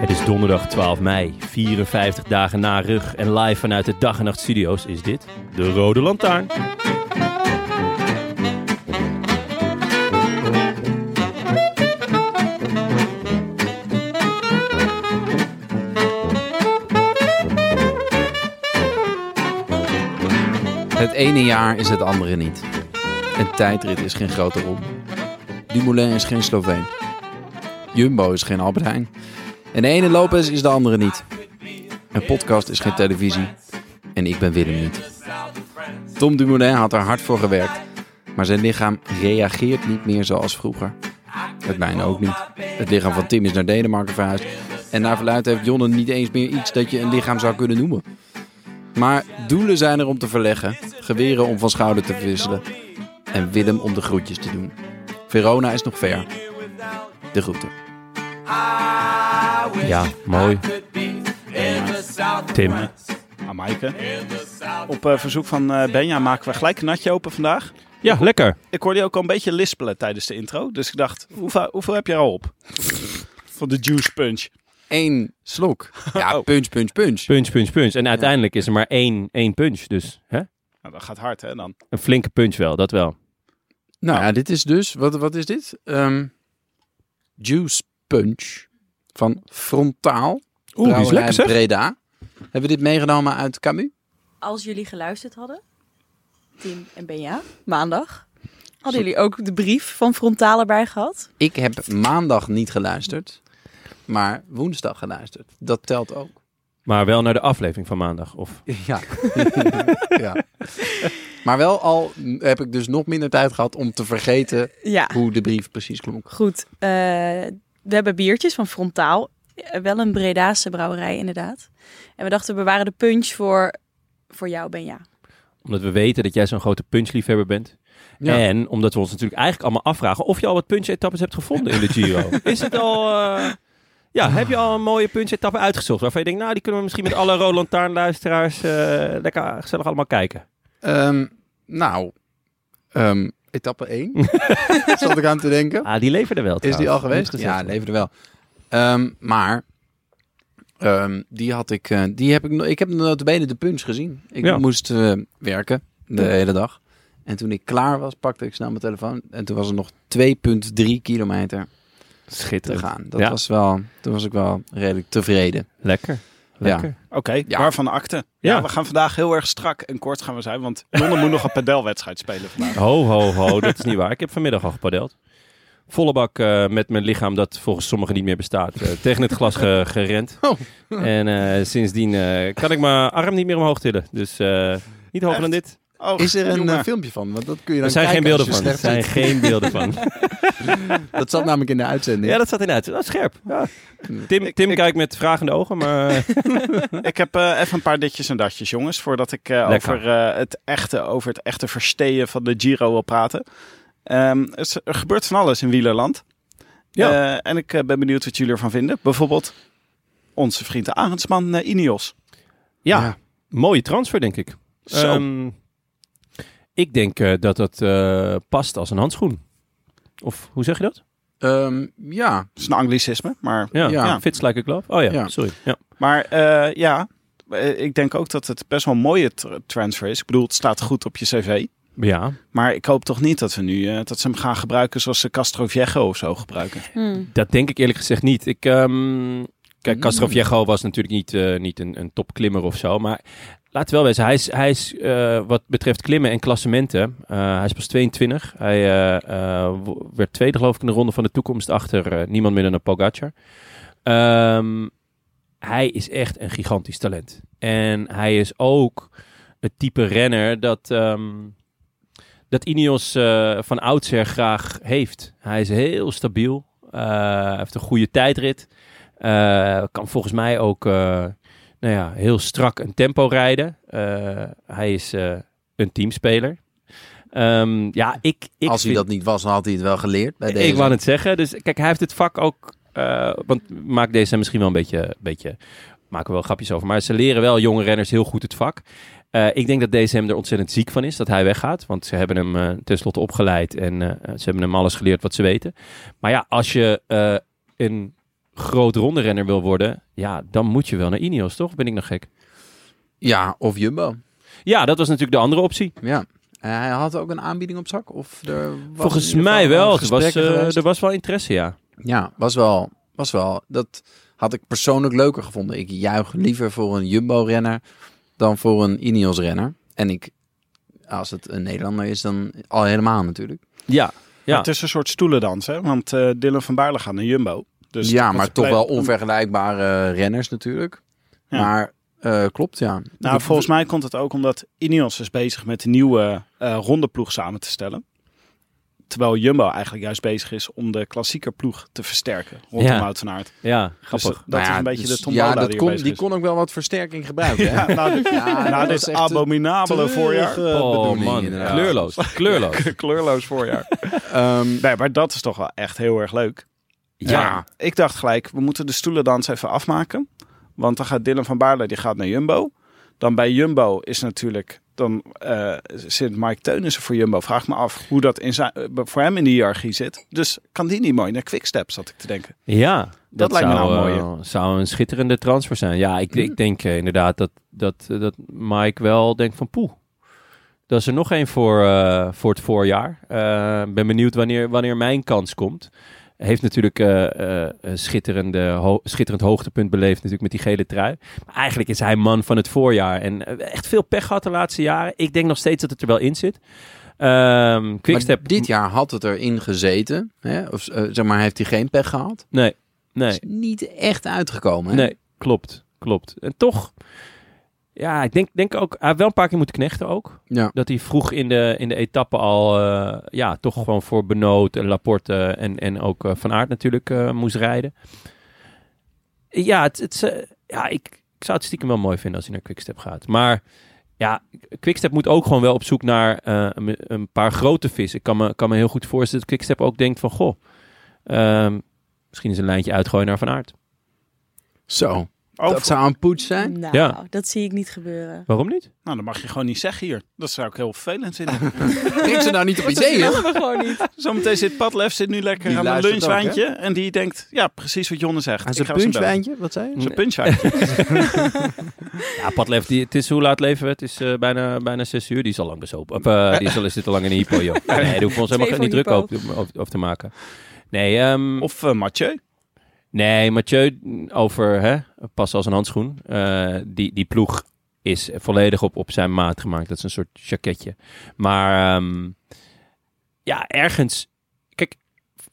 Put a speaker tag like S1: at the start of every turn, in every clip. S1: Het is donderdag 12 mei, 54 dagen na rug en live vanuit de Dag en Nacht Studio's is dit de Rode Lantaarn.
S2: Het ene jaar is het andere niet. Een tijdrit is geen grote rol. Dumoulin is geen Sloveen. Jumbo is geen Albert Heijn. En de ene Lopez is de andere niet. Een podcast is geen televisie. En ik ben Willem niet. Tom Dumoulin had er hard voor gewerkt. Maar zijn lichaam reageert niet meer zoals vroeger. Het mijne ook niet. Het lichaam van Tim is naar Denemarken verhuisd. En naar verluid heeft Jonne niet eens meer iets dat je een lichaam zou kunnen noemen. Maar doelen zijn er om te verleggen, geweren om van schouder te wisselen en Willem om de groetjes te doen. Verona is nog ver. De groeten.
S1: Ja, mooi. Tim,
S3: Aan Maaike. Op eh, verzoek van eh, Benja maken we gelijk een natje open vandaag.
S1: ja, lekker.
S3: Ik hoorde je ook al een beetje lispelen tijdens de intro. Dus ik dacht, hoeveel, hoeveel heb je er al op? Van de juice punch.
S2: Eén slok. Ja,
S3: Oh.
S2: punch, punch, punch.
S1: Punch, punch, punch. En uiteindelijk is er maar één, één punch, dus hè?
S3: Nou, dat gaat hard hè dan.
S1: een flinke punch wel, dat wel.
S2: Nou ja, dit is dus, wat, wat is dit? Ehm, juice punch van Frontaal.
S1: Oeh, die is
S2: Brouwerij
S1: lekker zeg.
S2: Breda. Hebben we dit meegenomen uit Camus?
S4: als jullie geluisterd hadden, Tim en Benja, maandag, hadden jullie ook de brief van Frontaal erbij gehad?
S2: Ik heb maandag niet geluisterd, maar woensdag geluisterd. Dat telt ook.
S1: Maar wel naar de aflevering van maandag. Of...
S2: Ja. ja. Maar wel al heb ik dus nog minder tijd gehad om te vergeten
S4: Ja.
S2: hoe de brief precies klonk.
S4: Goed, eh, we hebben biertjes van Frontaal, Eh, wel een Bredaanse brouwerij inderdaad. En we dachten, we bewaren de punch voor, voor jou, Benja.
S1: Omdat we weten dat jij zo'n grote punchliefhebber bent.
S2: Ja.
S1: En omdat we ons natuurlijk eigenlijk allemaal afvragen of je al wat punch-etappes hebt gevonden in de Giro. Is het al... eh, Ja, heb je al een mooie punch-etappe uitgezocht? Waarvan je denkt, nou, die kunnen we misschien met alle Roland Taarn-luisteraars eh, lekker gezellig allemaal kijken.
S2: Ehm, nou, ehm, etappe 1 zat ik aan te denken.
S1: Ah, die leverde wel
S2: Is die
S1: trouwens.
S2: al geweest?
S1: Moet
S2: Ja,
S1: gezegd
S2: leverde wel. Ehm, maar ehm, die had ik, eh, die heb ik, no- ik heb notabene de punch gezien. Ik
S1: Ja.
S2: moest eh, werken de hele dag. En toen ik klaar was, pakte ik snel mijn telefoon. En toen was er nog 2,3 kilometer
S1: worden.
S2: te
S1: Schitterend.
S2: gaan. Dat
S1: Ja.
S2: was wel, toen was ik wel redelijk tevreden.
S1: Lekker. Lekker.
S3: Oké,
S2: Ja.
S3: waarvan acte. Ja.
S1: Ja.
S3: we gaan vandaag heel erg strak en kort gaan we zijn. Want Jonne moet nog een padelwedstrijd spelen vandaag.
S1: Ho, ho, ho. Dat is niet waar. Ik heb vanmiddag al gepadeld. Volle bak eh, met mijn lichaam dat volgens sommigen niet meer bestaat. eh, tegen het glas ge- gerend.
S2: Oh.
S1: En eh, sindsdien eh, kan ik mijn arm niet meer omhoog tillen. Dus eh, niet hoger dan dit.
S3: Oh,
S2: Is er een
S3: jongen.
S2: eh, filmpje van? Want dat kun je dan
S1: Er zijn geen
S2: kijken
S1: beelden
S2: als
S1: van.
S2: je
S1: Er
S2: slecht
S1: zijn geen beelden van.
S2: zit. Dat zat namelijk in de uitzending.
S1: Ja, dat zat inderdaad. Dat is scherp. Ja.
S2: Hmm.
S1: Tim, Tim kijkt met vragende ogen, maar... eh,
S3: Ik heb eh, even een paar ditjes en datjes, jongens. Voordat ik eh,
S1: Lekker.
S3: over, eh, het echte, over het echte verstehen van de Giro wil praten. Ehm, het- er gebeurt van alles in wielerland.
S1: Ja.
S3: Eh, en ik eh, ben benieuwd wat jullie ervan vinden. Bijvoorbeeld onze vriend de Arendsman eh, Ineos.
S1: Ja, mooie transfer, denk ik.
S3: Zo.
S1: Ehm, ik denk eh, dat dat eh, past als een handschoen. Of hoe zeg je dat?
S2: Ehm, ja,
S3: Dat is een anglicisme, maar...
S1: Ja,
S2: Ja.
S1: fits like a glove. Oh ja,
S2: Ja.
S1: sorry. Ja.
S3: Maar eh, ja, eh, ik denk ook dat het best wel een mooie tra- transfer is. Ik bedoel, het staat goed op je cv.
S1: ja,
S3: Maar ik hoop toch niet dat, we nu, eh, dat ze hem gaan gebruiken zoals ze Castro Viejo of zo gebruiken.
S4: Hmm.
S1: dat denk ik eerlijk gezegd niet. Ik, ehm kijk,
S2: Mm.
S1: Castroviejo was natuurlijk niet, eh, niet een, een topklimmer of zo. Maar laat wel wezen, hij is, hij is eh, wat betreft klimmen en klassementen, eh, hij is pas 22. Hij eh, eh, wo- werd tweede geloof ik in de ronde van de toekomst achter eh, niemand minder dan Pogacar. Ehm, hij is echt een gigantisch talent. En hij is ook het type renner dat, ehm, dat Ineos eh, van oudsher graag heeft. Hij is heel stabiel. eh, Hij heeft een goede tijdrit. eh, kan volgens mij ook eh, nou ja, heel strak een tempo rijden. Eh, hij is eh, een teamspeler. Ehm, ja, ik, ik
S2: als hij
S1: vind-
S2: dat niet was, dan had hij het wel geleerd bij deze.
S1: ik wou het zeggen. Dus kijk, hij heeft het vak ook. eh, want maak deze misschien wel een beetje. beetje maken we wel grapjes over. Maar ze leren wel jonge renners heel goed het vak. Eh, ik denk dat deze hem er ontzettend ziek van is dat hij weggaat. Want ze hebben hem eh, tenslotte opgeleid en eh, ze hebben hem alles geleerd wat ze weten. Maar ja, als je eh, een groot ronde renner wil worden, ja, dan moet je wel naar Ineos, toch? Ben ik nog gek?
S2: Ja, of Jumbo.
S1: Ja, dat was natuurlijk de andere optie.
S2: Ja. En hij had ook een aanbieding op zak? Of er was
S1: Volgens
S2: in ieder
S1: mij
S2: geval
S1: wel.
S2: een
S1: Het was,
S2: gesprek
S1: eh,
S2: geweest?
S1: er was wel interesse, ja.
S2: Ja, was wel, was wel. Dat had ik persoonlijk leuker gevonden. Ik juich liever voor een Jumbo-renner dan voor een Ineos-renner. En ik, als het een Nederlander is, dan al helemaal natuurlijk.
S1: Ja,
S3: Maar
S1: ja.
S3: Het is een soort stoelendans, hè? Want eh, Dylan van Baarle gaat naar Jumbo. Dus
S2: ja,
S3: dat
S2: maar
S3: is
S2: toch wel
S3: compleet-
S2: onvergelijkbare eh, renners natuurlijk.
S3: Ja.
S2: Maar eh, klopt, ja.
S3: Nou, volgens mij komt het ook omdat Ineos is bezig met een nieuwe eh rondeploeg samen te stellen. Terwijl Jumbo eigenlijk juist bezig is om de klassieker ploeg te versterken rondom
S1: Ja.
S3: Moutenaard.
S1: ja,
S3: Dus
S1: grappig.
S3: dat
S2: Nou
S3: is
S2: ja,
S3: een beetje
S2: dus-
S3: de Tom
S2: Ja,
S3: Bola
S2: dat
S3: die
S2: kon,
S3: erbij
S2: die
S3: is.
S2: kon ook wel wat versterking gebruiken. hè?
S3: Ja, na, dit-
S2: Ja,
S3: na
S2: dat
S3: dit
S2: is echt een
S3: abominabele voorjaar.
S2: treurige Eh, bedoeling, inderdaad.
S1: Oh, kleurloos, kleurloos.
S3: Kleurloos voorjaar.
S2: Ehm,
S3: Nee, maar dat is toch wel echt heel erg leuk.
S2: ja.
S3: Ik dacht gelijk, we moeten de stoelendans even afmaken. Want dan gaat Dylan van Baarle, die gaat naar Jumbo. Dan bij Jumbo is natuurlijk, dan eh, zit Mike Teunissen voor Jumbo. Vraag me af hoe dat in zijn, eh, voor hem in de hiërarchie zit. Dus kan die niet mooi naar Quickstep, zat ik te denken.
S1: Ja, dat,
S3: lijkt me
S1: zou,
S3: nou een
S1: eh, zou een schitterende transfer zijn. Ja, ik, ik denk eh, inderdaad dat, dat, eh, dat Mike wel denkt van poeh. Dat is er nog één voor, eh, voor het voorjaar. Eh, Ik ben benieuwd wanneer, wanneer mijn kans komt. Heeft natuurlijk eh, eh, een schitterende, ho- schitterend hoogtepunt beleefd natuurlijk met die gele trui. Maar eigenlijk is hij man van het voorjaar. En eh, echt veel pech gehad de laatste jaren. Ik denk nog steeds dat het er wel in zit. Ehm Quickstep...
S2: Maar dit jaar had het erin gezeten. Hè? Of eh, zeg maar, heeft hij geen pech gehad?
S1: Nee, nee.
S2: Is niet echt uitgekomen. Hè?
S1: Nee, klopt. Klopt. En toch, ja, ik denk, denk ook, hij heeft wel een paar keer moeten knechten ook.
S2: Ja.
S1: Dat hij vroeg in de, in de etappe al, eh, ja, toch gewoon voor Benoot en Laporte eh, en, en ook eh, Van Aert natuurlijk eh, moest rijden. Ja, het, het, is, eh, ja ik, ik zou het stiekem wel mooi vinden als hij naar Quickstep gaat. Maar ja, Quickstep moet ook gewoon wel op zoek naar eh, een, een paar grote vissen. Ik kan me, kan me heel goed voorstellen dat Quickstep ook denkt van, goh, ehm, misschien is een lijntje uitgooien naar Van Aert.
S2: Zo,
S3: Oh,
S2: dat zou een poets zijn.
S4: Nou,
S1: Ja.
S4: dat zie ik niet gebeuren.
S1: Waarom niet?
S3: Nou, dat mag je gewoon niet zeggen hier. Dat zou ik heel vervelend vinden.
S2: Denk ze nou niet op ideeën?
S4: Dat willen we gewoon niet.
S3: Zometeen zit Padlef zit nu lekker
S2: Die
S3: aan een
S2: luistert ook, hè?
S3: lunchwijntje. en die denkt, ja, precies wat Jonne zegt.
S2: Aan
S3: Ik
S2: zijn
S3: ga ze bellen.
S2: punchwijntje, wat zei je?
S3: Zijn punchwijntje.
S1: Ja, Padlef, die, het is hoe laat leven we? Het is eh, bijna, bijna zes uur. Die is al lang bezopen. Of, eh, die is al, zit al lang in de hypo, joh. Nee, daar hoeven we ons helemaal
S4: Twee
S1: geen niet
S4: voor
S1: druk over, over- over te maken. Nee, ehm,
S3: Of eh, Mathieu.
S1: nee Mathieu, over hè, pas als een handschoen. Eh, die, die ploeg is volledig op, op zijn maat gemaakt. Dat is een soort jacketje. Maar ehm, ja, ergens... Kijk,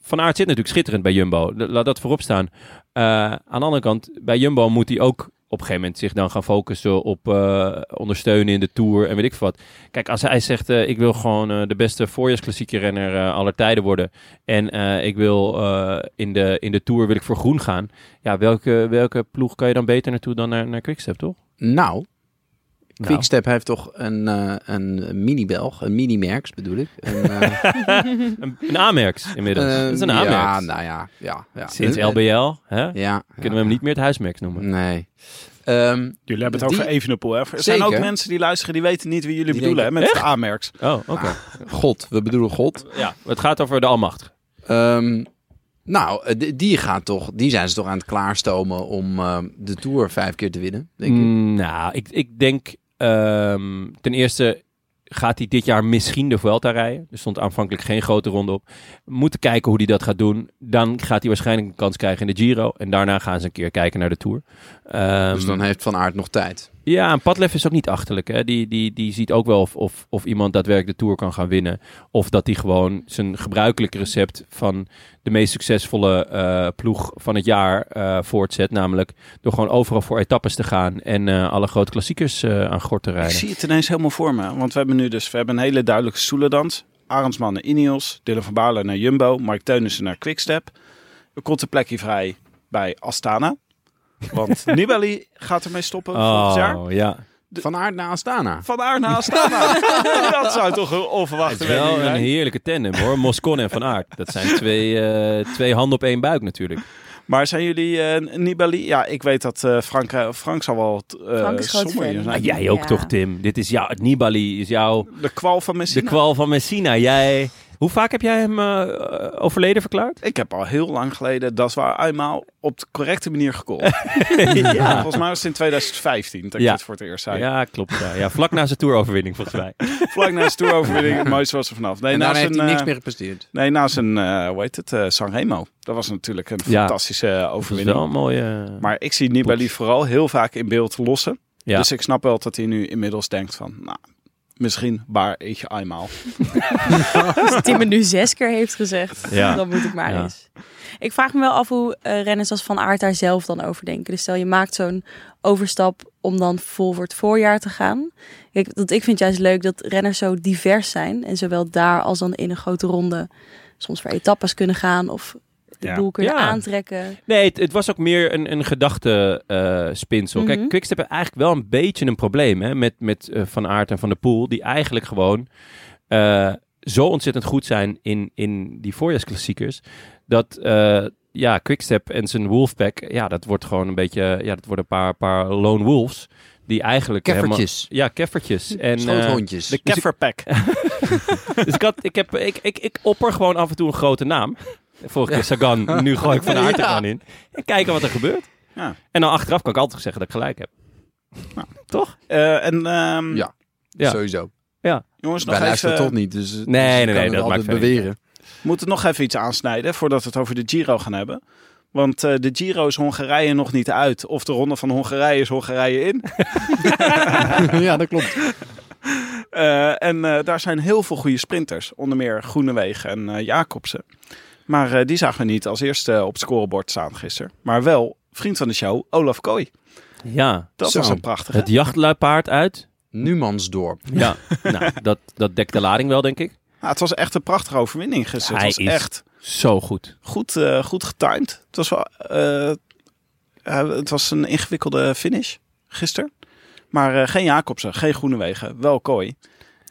S1: Van Aert zit natuurlijk schitterend bij Jumbo. La- Laat dat voorop staan. Eh, aan de andere kant, bij Jumbo moet hij ook op een gegeven moment zich dan gaan focussen op eh, ondersteunen in de Tour en weet ik veel wat. Kijk, als hij zegt, eh, ik wil gewoon eh, de beste voorjaarsklassieke renner eh, aller tijden worden en eh, ik wil eh, in, de, in de Tour wil ik voor groen gaan. Ja, welke, welke ploeg kan je dan beter naartoe dan naar, naar Quickstep, toch?
S2: Nou,
S1: Nou.
S2: Quickstep heeft toch een, eh, een mini-Belg, een mini-merks bedoel ik. Een, eh,
S1: Een, een A-merks inmiddels.
S2: eh,
S1: Dat is een
S2: Ja,
S1: A-merks.
S2: nou ja. ja, ja.
S1: Sinds
S2: Eh, eh,
S1: LBL hè,
S2: Ja. Mm.
S1: kunnen we hem niet meer het huismerks noemen.
S2: Nee. Ehm,
S3: Jullie hebben het
S2: Die-
S3: over Evenepoel. Hè? Er zijn ook
S2: Zeker.
S3: mensen die luisteren, die weten niet wie jullie
S2: Die
S3: bedoelen
S2: denken,
S3: hè, met de A-merks.
S1: Oh, oké.
S2: Ah. God, we bedoelen God.
S1: Ja, het gaat over de almachtige.
S2: Ehm, Nou, eh, die- die, gaat toch, die zijn ze toch aan het klaarstomen om eh, de Tour vijf keer te winnen, denk ik.
S1: Mm, nou, ik, ik denk ehm, ten eerste gaat hij dit jaar misschien de Vuelta rijden. Er stond aanvankelijk geen grote ronde op. We moeten kijken hoe hij dat gaat doen. Dan gaat hij waarschijnlijk een kans krijgen in de Giro. En daarna gaan ze een keer kijken naar de Tour. Ehm,
S2: dus dan heeft Van Aert nog tijd.
S1: Ja, en Padlef is ook niet achterlijk. Hè? Die, die, die ziet ook wel of, of, of iemand daadwerkelijk de Tour kan gaan winnen. Of dat hij gewoon zijn gebruikelijk recept van de meest succesvolle eh, ploeg van het jaar eh, voortzet. Namelijk door gewoon overal voor etappes te gaan en eh, alle grote klassiekers eh, aan gort te
S3: Ik
S1: rijden.
S3: zie het ineens helemaal voor me. Want we hebben nu dus we hebben een hele duidelijke stoelendans. Arendsman naar Ineos, Dylan van Baarle naar Jumbo, Mark Teunissen naar Quickstep. Er komt een plekje vrij bij Astana. Want Nibali gaat ermee stoppen volgend jaar.
S1: Oh, ja.
S2: Van Aert naar Astana.
S3: Van Aar naar Astana. dat zou toch een
S1: Het
S3: onverwachte
S1: is wel
S3: wending
S1: een
S3: zijn.
S1: heerlijke tandem hoor. Moscon en Van Aert. Dat zijn twee, eh, twee handen op één buik natuurlijk.
S3: Maar zijn jullie eh, Nibali? Ja, ik weet dat eh, Frank, eh, Frank zal wel eh
S4: Frank is groot
S3: somber hier
S4: fan.
S3: zijn.
S1: Maar Ah, jij ook
S4: Ja.
S1: toch Tim? Dit is jouw, Nibali is jouw...
S3: De kwal van
S1: De
S3: Messina.
S1: kwal van Messina. Jij, hoe vaak heb jij hem eh, eh, overleden verklaard?
S3: ik heb al heel lang geleden dat waar eenmaal op de correcte manier gecallt. Volgens mij was het in 2015 dat ik
S1: Ja.
S3: dit voor het eerst zei.
S1: Ja, klopt. Ja. Ja, vlak na zijn toeroverwinning volgens mij.
S3: Vlak na zijn toeroverwinning, het mooiste was er vanaf. Nee,
S2: en daar
S3: na zijn,
S2: heeft hij niks
S3: eh,
S2: meer gepresteerd.
S3: Nee, na zijn, eh hoe heet het, eh Sanremo. Dat was natuurlijk een
S1: Ja.
S3: fantastische eh,
S1: Of is
S3: overwinning.
S1: wel een mooie...
S3: Maar ik zie Nibali
S1: Poets.
S3: vooral heel vaak in beeld lossen.
S1: Ja.
S3: Dus ik snap wel dat hij nu inmiddels denkt van, nou, misschien waar ik je eenmaal.
S4: Als Tim het nu zes keer heeft gezegd,
S1: Ja.
S4: dan moet ik maar
S1: Ja.
S4: eens. Ik vraag me wel af hoe eh, renners als Van Aert daar zelf dan over denken. Dus stel je maakt zo'n overstap om dan vol voor het voorjaar te gaan. Kijk, want ik vind juist leuk dat renners zo divers zijn. En zowel daar als dan in een grote ronde soms voor etappes kunnen gaan of de
S3: Ja.
S4: boel kunnen
S1: Ja.
S4: aantrekken.
S1: Nee, het, het was ook meer een, een gedachtespinsel. Kijk,
S4: Mhm.
S1: Quickstep heeft eigenlijk wel een beetje een probleem hè, met, met eh, Van Aert en Van der Poel. Die eigenlijk gewoon eh, zo ontzettend goed zijn in, in die voorjaarsklassiekers. Dat eh, ja, Quickstep en zijn Wolfpack, ja, dat wordt gewoon een beetje... Ja, dat worden een paar, paar lone wolves. Die eigenlijk helemaal...
S2: Keffertjes.
S1: Ja, keffertjes. En, eh,
S2: Schoothondjes.
S3: De kefferpack.
S1: dus ik, had, ik, heb, ik, ik, ik opper gewoon af en toe een grote naam. Vorige keer Sagan, nu gooi ik Van Aert er gewoon in. En kijken wat er gebeurt.
S3: Ja.
S1: En dan achteraf kan ik altijd zeggen dat ik gelijk heb. Toch?
S3: Eh, en ehm,
S2: Ja.
S1: ja.
S2: Sowieso.
S3: jongens, nog
S2: Wij luisteren
S3: even,
S2: toch niet, dus eh, dus
S1: nee,
S2: je
S1: nee,
S2: kan
S1: dat
S2: het
S1: maakt
S2: altijd
S1: verder
S2: beweren.
S3: we moeten nog even iets aansnijden voordat we het over de Giro gaan hebben. Want eh, de Giro is Hongarije nog niet uit. Of de Ronde van Hongarije is Hongarije in.
S2: ja, dat klopt.
S3: Eh, en eh, daar zijn heel veel goede sprinters. Onder meer Groenewegen en eh, Jacobsen. Maar eh, die zagen we niet als eerste eh, op het scorebord staan gisteren. Maar wel vriend van de show, Olaf Kooi.
S1: Ja,
S3: Dat
S2: Zo.
S3: was een prachtige.
S1: het jachtluipaard uit.
S2: Numansdorp.
S1: Ja, nou, dat, dat dekt de lading wel, denk ik.
S3: Ja, het was echt een prachtige overwinning gisteren.
S1: Hij
S3: het was
S1: is-
S3: echt
S1: Zo goed.
S3: goed, eh, goed getimed. Het was, wel, eh, eh, het was een ingewikkelde finish gisteren. Maar eh, geen Jacobsen, geen Groenewegen, wel Kooi.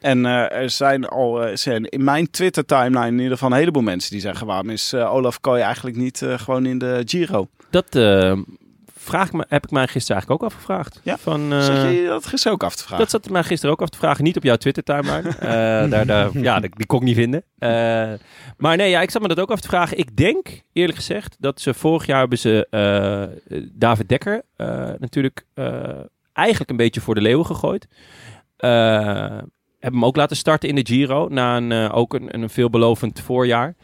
S3: En eh, er zijn al eh, zijn in mijn Twitter-timeline in ieder geval een heleboel mensen die zeggen... waarom is eh, Olaf Kooi eigenlijk niet eh, gewoon in de Giro?
S1: Dat eh, vraag ik me, heb ik mij gisteren eigenlijk ook afgevraagd.
S3: Ja.
S1: Van, eh,
S3: Zat je dat gisteren ook af te vragen?
S1: Dat zat mij gisteren ook af te vragen. Niet op jouw Twitter-timeline. Eh, daar, daar, ja, die die kon ik niet vinden. Eh, maar nee, ja, ik zat me dat ook af te vragen. Ik denk, eerlijk gezegd, dat ze vorig jaar hebben ze eh, David Dekker eh, natuurlijk eh, eigenlijk een beetje voor de leeuwen gegooid. Eh, hebben hem ook laten starten in de Giro. Na een, eh, ook een, een veelbelovend voorjaar.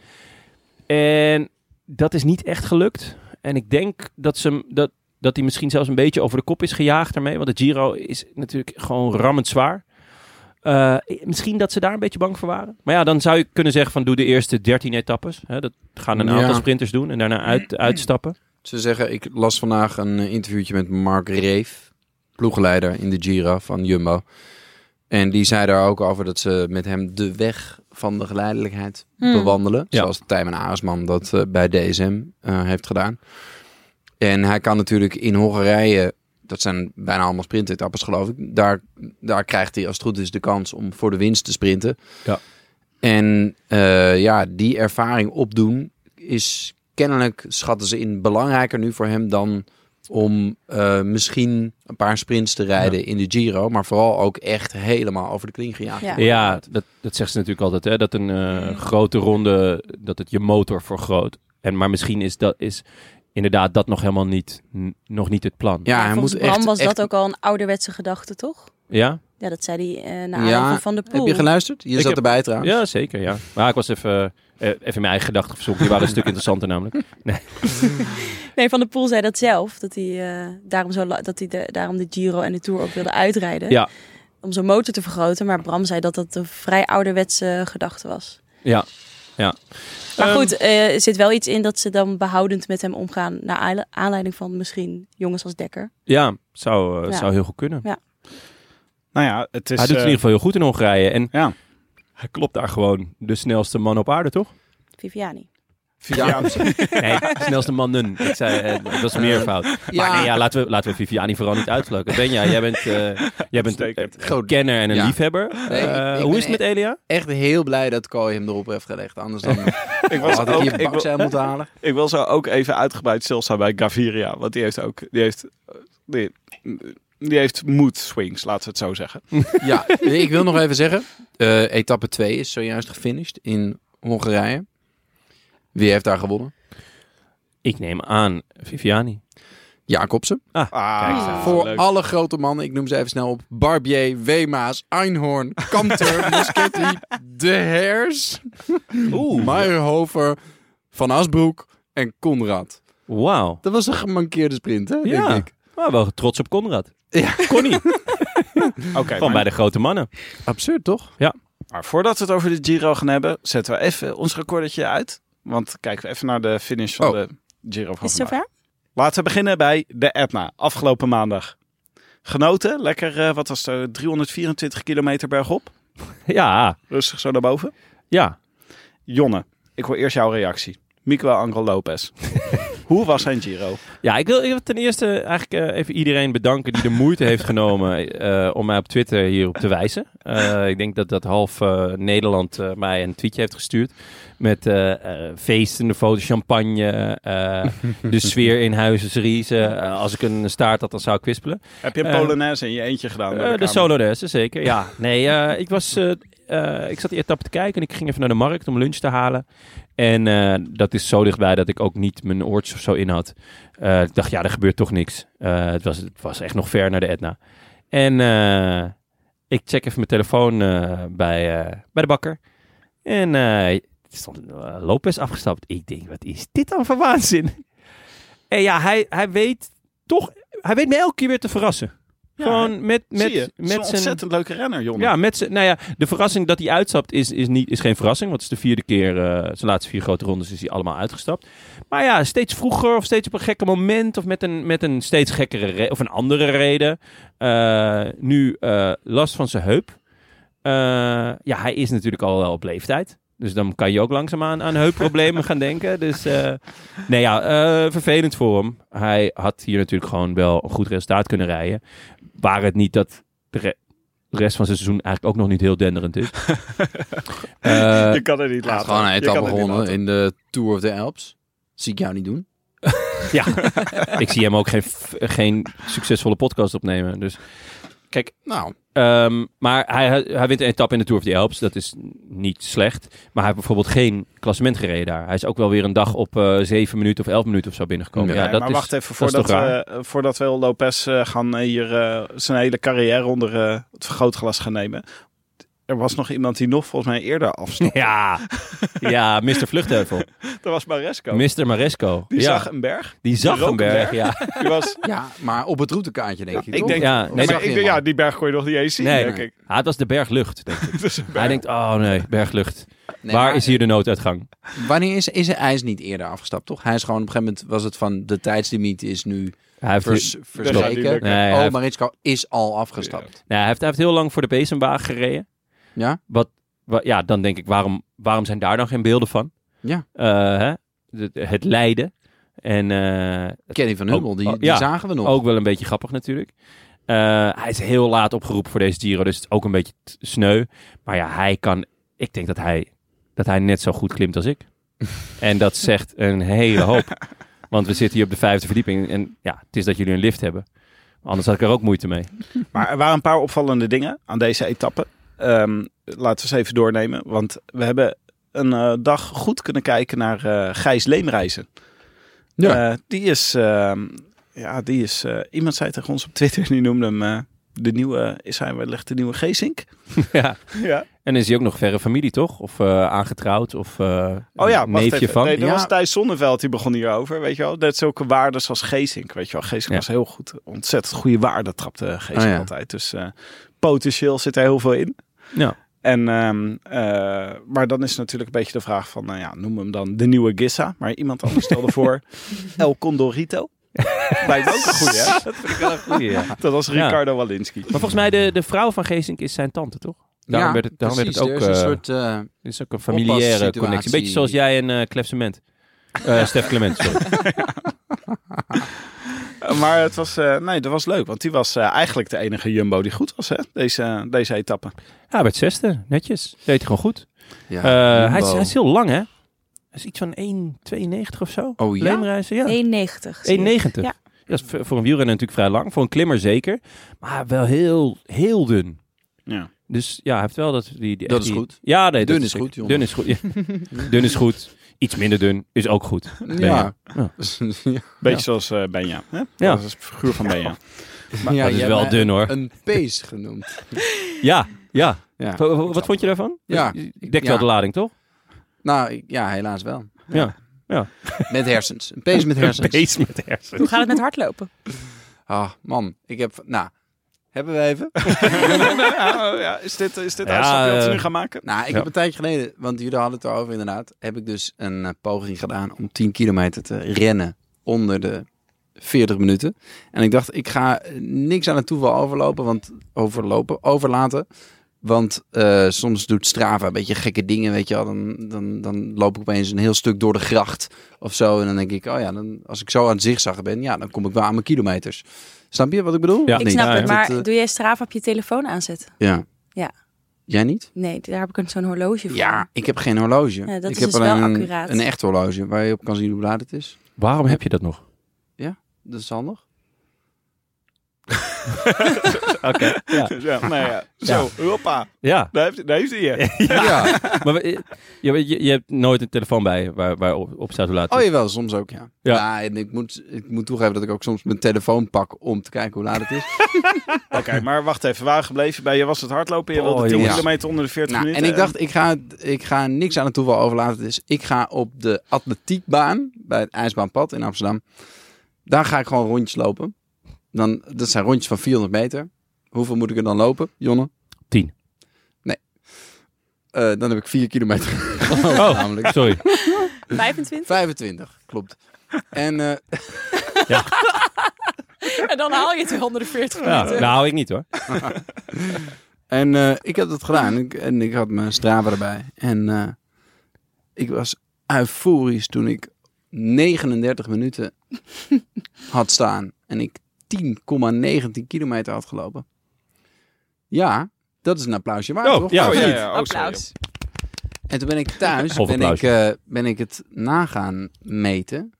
S1: En dat is niet echt gelukt. En ik denk dat ze hem... Dat, dat hij misschien zelfs een beetje over de kop is gejaagd daarmee. Want de Giro is natuurlijk gewoon rammend zwaar. Eh, misschien dat ze daar een beetje bang voor waren. Maar ja, dan zou je kunnen zeggen van doe de eerste 13 etappes. Hè, dat gaan een
S2: Ja.
S1: aantal sprinters doen en daarna uit, uitstappen.
S2: Ze zeggen, ik las vandaag een eh, interviewtje met Mark Reef, ploegleider in de Gira van Jumbo. En die zei daar ook over dat ze met hem de weg van de geleidelijkheid
S4: Hmm.
S2: bewandelen.
S1: Ja.
S2: Zoals Tijmen Aasman dat eh, bij DSM eh, heeft gedaan. En hij kan natuurlijk in Hongarije, dat zijn bijna allemaal sprintetappes geloof ik. Daar, daar krijgt hij als het goed is de kans om voor de winst te sprinten.
S1: Ja.
S2: En eh, ja, die ervaring opdoen is kennelijk, schatten ze in, belangrijker nu voor hem dan om eh, misschien een paar sprints te rijden in de Giro. Maar vooral ook echt helemaal over de kling gejaagd.
S4: Ja.
S1: Ja, dat, dat zegt ze natuurlijk altijd. Hè, dat een eh, grote ronde, dat het je motor vergroot. En, maar misschien is, dat, is inderdaad dat nog helemaal niet, n- nog niet het plan.
S2: Ja, hij
S4: volgens
S2: moet
S4: Bram
S2: echt...
S4: was
S2: echt-
S4: dat ook al een ouderwetse gedachte, toch?
S1: Ja,
S4: Ja, dat zei hij eh, na
S2: Ja,
S4: aanleiding van de pool.
S2: Heb je geluisterd? Je
S1: Ik
S2: zat
S1: heb-
S2: erbij trouwens.
S1: ja zeker. Ja. Maar ik was even, eh, even in mijn eigen gedachten verzonken. Die waren een stuk interessanter namelijk.
S4: Nee, Van de Poel zei dat zelf. Dat hij, eh, daarom, zo, la- dat hij de, daarom de Giro en de Tour ook wilde uitrijden.
S1: Ja.
S4: Om zijn motor te vergroten. Maar Bram zei dat dat een vrij ouderwetse gedachte was.
S1: Ja, ja.
S4: Maar
S1: Ehm,
S4: goed, eh, er zit wel iets in dat ze dan behoudend met hem omgaan. Naar aile- aanleiding van misschien jongens als Dekker.
S1: Ja, zou, eh,
S4: Ja.
S1: zou heel goed kunnen.
S3: Nou ja, het is...
S1: hij doet het
S3: eh,
S1: in ieder geval heel goed in Hongarije. En
S3: Ja.
S1: hij klopt daar gewoon de snelste man op aarde, toch?
S4: Viviani.
S3: Vivian.
S1: Nee, snelste mannen. Ik zei, eh, dat is meer fout. Maar nee, ja, laten, we, laten we Viviani vooral niet uitsluiten. Benja, jij bent, eh, jij bent een
S3: Uitstekend.
S2: Groot-
S1: kenner en een
S2: Ja.
S1: liefhebber.
S2: Nee, ik-
S1: Eh,
S2: ik
S1: hoe
S2: ben
S1: is het met Elia?
S2: Echt heel blij dat Kooi hem erop heeft gelegd. Anders dan
S3: ik, was
S2: had ik
S3: ook,
S2: hier
S3: ik,
S2: bak
S3: wil,
S2: zijn moeten halen.
S3: ik wil zo ook even uitgebreid stilstaan bij Gaviria. Want die heeft ook... Die heeft, die, die heeft mood swings, laten we het zo zeggen.
S2: Ja, nee, ik wil nog even zeggen. eh, etappe 2 is zojuist gefinished in Hongarije. Wie heeft daar gewonnen?
S1: Ik neem aan Viviani.
S2: Jacobsen.
S3: Ah,
S1: Kijk eens
S2: Voor
S3: leuk.
S2: alle grote mannen, ik noem ze even snel op. Barbier, Wema's, Einhorn, Kamter, Muschetti, De Hers,
S1: Oeh.
S2: Meyerhofer, Van Asbroek en Conrad.
S1: Wauw.
S2: Dat was een gemankeerde sprint, hè?
S1: Ja.
S2: Denk ik.
S1: Maar wel trots op Conrad.
S2: Ja.
S1: Connie.
S3: Oké,
S1: Gewoon bij
S3: maar,
S1: de grote mannen.
S2: Absurd, toch?
S3: maar voordat we het over de Giro gaan hebben, zetten we even ons recordertje uit. Want kijken we even naar de finish van
S2: Oh.
S3: de Giro van
S4: Is het
S3: vandaag.
S4: zover?
S3: Laten we beginnen bij de Etna, afgelopen maandag. Genoten, lekker, eh, wat was het, 324 kilometer bergop.
S1: Ja,
S3: Rustig zo naar boven.
S1: ja.
S3: Jonne, ik wil eerst jouw reactie. Miguel Angel Lopez. Hoe was zijn Giro?
S1: Ja, ik wil, ik wil ten eerste eigenlijk eh, even iedereen bedanken die de moeite heeft genomen eh, om mij op Twitter hierop te wijzen. Eh, ik denk dat dat half eh, Nederland eh, mij een tweetje heeft gestuurd met eh eh feestende foto's, champagne, eh, de sfeer in huizen, Riese. Eh, als ik een staart had, dan zou ik kwispelen.
S3: Heb je een
S1: Eh,
S3: Polonaise in je eentje gedaan? door
S1: Eh, de
S3: kamer?
S1: solo dansen, zeker. Ja, nee, eh, ik was... eh, eh, ik zat die etappe te kijken en ik ging even naar de markt om lunch te halen. En eh, dat is zo dichtbij dat ik ook niet mijn oortjes of zo in had. Eh, ik dacht, ja, er gebeurt toch niks. Eh, het, was, het was echt nog ver naar de Etna. En eh, ik check even mijn telefoon eh, bij, eh, bij de bakker. En eh, er stond eh, Lopez afgestapt. Ik denk, wat is dit dan voor waanzin? En ja, hij, hij weet toch... Hij weet me elke keer weer te verrassen.
S3: Ja,
S1: Gewoon met,
S3: Zie je,
S1: met,
S3: het is een
S1: met zijn...
S3: ontzettend leuke renner, Jonne.
S1: Ja, met zijn, nou ja, de verrassing dat hij uitstapt is, is, niet, is geen verrassing. Want het is de vierde keer, eh, zijn laatste vier grote rondes is hij allemaal uitgestapt. Maar ja, steeds vroeger of steeds op een gekke moment of met een, met een steeds gekkere re- of een andere reden. Eh, nu eh, last van zijn heup. Eh, ja, hij is natuurlijk al wel op leeftijd. Dus dan kan je ook langzaamaan aan heupproblemen gaan denken. Dus eh, nee ja, eh, vervelend voor hem. Hij had hier natuurlijk gewoon wel een goed resultaat kunnen rijden. Waar het niet dat de, re- de rest van zijn seizoen eigenlijk ook nog niet heel denderend is. Eh,
S3: Je kan het niet
S2: Hij heeft
S3: laten.
S2: gewoon een
S3: Je kan
S2: etappe
S3: het niet
S2: gewonnen
S3: laten.
S2: in de Tour of the Alps. Zie ik jou niet doen.
S1: ja, ik zie hem ook geen, f- geen succesvolle podcast opnemen. Dus kijk,
S2: Nou,
S1: Ehm, maar hij, hij wint een etappe in de Tour of the Alps. Dat is niet slecht. Maar hij heeft bijvoorbeeld geen klassement gereden daar. Hij is ook wel weer een dag op eh 7 minuten of 11 minuten of zo binnengekomen.
S2: Nee,
S1: Ja,
S3: Nee,
S1: dat
S3: maar
S1: is-
S3: wacht even,
S1: dat is
S3: voordat,
S1: toch raar?
S3: we, eh, voordat we Lopez eh, gaan eh, hier eh, zijn hele carrière onder eh, het vergrootglas gaan nemen. Er was nog iemand die nog volgens mij eerder afstond.
S1: Ja, ja Mr. Vluchtheuvel.
S3: Dat was Maresco.
S1: Mr. Maresco.
S3: Die
S1: ja,
S3: zag een berg.
S1: die zag een berg.
S3: Rokenberg.
S1: Ja.
S3: Die was,
S2: ja, maar op het routekaartje denk ik,
S3: ik
S2: toch?
S3: denk-
S1: Ja,
S2: Of
S1: nee,
S2: zag
S3: maar
S2: je
S3: ik,
S2: hem al?
S3: ja, die berg kon je nog niet eens zien,
S1: Nee.
S3: denk ik.
S1: Ah, het was de berglucht. Denk ik.
S3: Het is een berg.
S1: Hij denkt, oh nee, berglucht.
S2: Nee,
S1: Waar
S2: maar-
S1: is hier de nooduitgang?
S2: Wanneer is, is hij, hij is niet eerder afgestapt, toch? Hij is gewoon op een gegeven moment was het van de tijdslimiet is nu
S1: Hij heeft,
S2: vers,
S3: gaat niet
S2: verzekerd.
S3: lukken.
S1: nee, hij
S2: oh,
S1: heeft-
S2: Maritschko is al afgestapt.
S1: nee, Nou, hij, heeft, hij heeft heel lang voor de bezemwagen gereden.
S2: Ja?
S1: Wa- ja, dan denk ik, waarom, waarom zijn daar dan geen beelden van?
S2: Ja.
S1: Eh, hè? De- de- het lijden. En eh,
S2: Kenny van Hummel, die,
S1: oh,
S2: die
S1: ja.
S2: zagen we nog.
S1: ook wel een beetje grappig natuurlijk. Eh, hij is heel laat opgeroepen voor deze Giro, dus het is ook een beetje t- sneu. Maar ja, hij kan... Ik denk dat hij, dat hij net zo goed klimt als ik. en dat zegt een hele hoop. Want we zitten hier op de vijfde verdieping en ja, het is dat jullie een lift hebben. Maar Anders had ik er ook moeite mee.
S3: Maar er waren een paar opvallende dingen aan deze etappe. Ehm, laten we ze even doornemen. Want we hebben eh, een eh, dag goed kunnen kijken naar eh, Gijs Leemreizen.
S2: Ja.
S3: Eh, die is, eh, ja, die is eh, iemand zei tegen ons op Twitter, die noemde hem eh, de nieuwe, is hij wellicht de nieuwe Geesink?
S1: ja.
S3: Ja.
S1: En is hij ook nog verre familie, toch? Of eh, aangetrouwd? Of eh,
S3: Oh ja, wacht
S1: neefje
S3: even.
S1: van?
S3: Nee, dat
S1: Ja.
S3: was Thijs Zonneveld, die begon hierover, weet je wel. Dat zulke waarden als Geesink, weet je wel. Geesink
S1: Ja. Oh
S3: was heel goed, ontzettend goede waarde trapte Geesink
S2: Ah, ja.
S3: altijd. Dus eh, potentieel zit er heel veel in.
S1: Ja.
S3: En, ehm, eh, maar dan is natuurlijk een beetje de vraag van, nou ja, noem hem dan de nieuwe Gissa. Maar iemand anders stelde voor El Condorito. Lijkt me ook een goeie, hè?
S1: Dat vind ik wel een goeie, ja.
S3: Dat was Ricardo Walinski.
S1: Maar volgens mij de, de vrouw van Geesink is zijn tante, toch? Daarom werd het, daarom werd het ook,
S2: precies. Er is een
S1: eh,
S2: soort... eh,
S1: Dit is ook een familiaire
S2: Oppassituatie.
S1: connectie. Een beetje zoals jij en eh Clef Cement. Eh, Stef Clement, sorry.
S3: Eh, Maar het was, eh, nee, dat was leuk. Want die was eh, eigenlijk de enige Jumbo die goed was, hè? Deze, deze etappe.
S1: Hij werd zesde, netjes. Deed hij gewoon goed.
S2: ja,
S1: Eh, hij, is,
S2: Jumbo.
S1: hij is heel lang, hè? Hij is iets van 1,92 of zo.
S2: Oh ja?
S1: Leemreizen, ja.
S4: 1,90.
S1: 1,90. Ja.
S4: Ja.
S1: Dat is voor voor een wielrenner natuurlijk vrij lang. Voor een klimmer zeker. Maar wel heel, heel dun.
S3: Ja.
S1: Dus ja, hij heeft wel dat... Die, die,
S2: Dat is
S1: die-
S2: goed.
S1: Ja, nee,
S2: Dun
S1: dat
S2: is
S1: zeker.
S2: goed, jongen.
S1: Dun is goed, ja. Dun is goed. Iets minder dun is ook goed.
S2: Ja.
S1: Ja.
S2: Ja.
S3: Beetje
S1: Ja.
S3: zoals eh, Benja. Hè?
S1: Ja.
S3: Dat is de figuur van Benja.
S2: Ja,
S1: dat is
S2: jij
S1: wel
S2: hebt mij
S1: dun, hoor.
S2: Een pees genoemd.
S1: Ja, ja.
S2: Ja.
S1: Wa- wa- Wat vond je daarvan?
S2: Ja.
S1: Ik dekt
S2: Ja.
S1: wel de lading, toch?
S2: Nou, ik- ja, helaas wel.
S1: Ja.
S2: Met hersens. Een pees met hersens.
S1: Beest met hersens.
S4: Hoe gaat het met hardlopen?
S2: Ah, man. Ik heb... Nou, hebben we even?
S3: Nou ja, oh ja, is dit, is dit
S1: Ja,
S3: de uitstap die we
S1: eh,
S3: nu gaan maken?
S2: Nou, ik
S1: Ja.
S2: heb een tijdje geleden, want jullie hadden het erover inderdaad, heb ik dus een eh, poging gedaan om 10 kilometer te rennen onder de 40 minuten. En ik dacht, ik ga eh, niks aan het toeval overlopen, want overlopen, overlaten. Want eh, soms doet Strava een beetje gekke dingen, weet je wel. Dan, dan, dan loop ik opeens een heel stuk door de gracht of zo. En dan denk ik, oh ja, dan, als ik zo aan het zigzaggen ben, ja, dan kom ik wel aan mijn kilometers. Snap je wat ik bedoel?
S1: Ja.
S2: Of
S4: ik
S2: niet?
S4: snap
S1: ja,
S4: het,
S1: ja.
S4: maar
S2: Dat, eh,
S4: doe jij Strava op je telefoon aanzetten?
S2: ja.
S4: Ja.
S2: Jij niet?
S4: Nee, daar heb ik een- zo'n horloge voor.
S2: Ja, ik heb geen horloge.
S4: Ja, dat
S2: ik
S4: is
S2: heb
S4: dus wel
S2: een,
S4: accuraat.
S2: een echt horloge waar je op kan zien hoe laat het is.
S1: Waarom heb je dat nog?
S2: Dat is handig.
S3: Ja. nou ja. Zo, hoppa.
S1: Ja,
S3: Daar heeft, daar heeft hij je.
S2: Ja.
S1: maar we- je, je, je hebt nooit een telefoon bij je waar, waar op op staat hoe laat het
S2: Oh
S1: is.
S2: jawel, soms ook ja.
S1: Ja.
S2: Ja, en ik moet, ik moet toegeven dat ik ook soms mijn telefoon pak om te kijken hoe laat het is.
S3: Oké, maar wacht even. Waar gebleven bij je? Was het hardlopen? Je wilde
S1: Oh,
S3: 10
S2: jongens.
S3: kilometer onder de 40
S2: nou, en
S3: minuten.
S2: ik dacht, ik ga, ik ga niks aan het toeval overlaten. Dus ik ga op de atletiekbaan bij het IJsbaanpad in Amsterdam. Daar ga ik gewoon rondjes lopen. Dan, dat zijn rondjes van 400 meter. Hoeveel moet ik er dan lopen, Jonne?
S1: Tien.
S2: Nee. Eh, dan heb ik 4 kilometer gelopen,
S1: Oh.
S2: namelijk.
S1: Sorry.
S4: 25?
S2: 25, klopt. En eh,
S4: En dan haal je het weer onder de 40
S1: Ja,
S4: minuten.
S1: nou, hou ik niet hoor.
S2: En eh, ik heb dat gedaan. Ik, en ik had mijn Strava erbij. En eh, ik was euforisch toen ik 39 minuten had staan. En ik 10,19 kilometer had gelopen. Ja, dat is een applausje waard,
S1: Oh,
S2: toch?
S1: ja.
S3: Oh, ja,
S1: Niet.
S3: ja. Oh, sorry.
S4: Applaus.
S2: En toen ben ik thuis,
S1: Of
S2: ben ik,
S1: applausje.
S2: eh, ben ik het nagaan meten.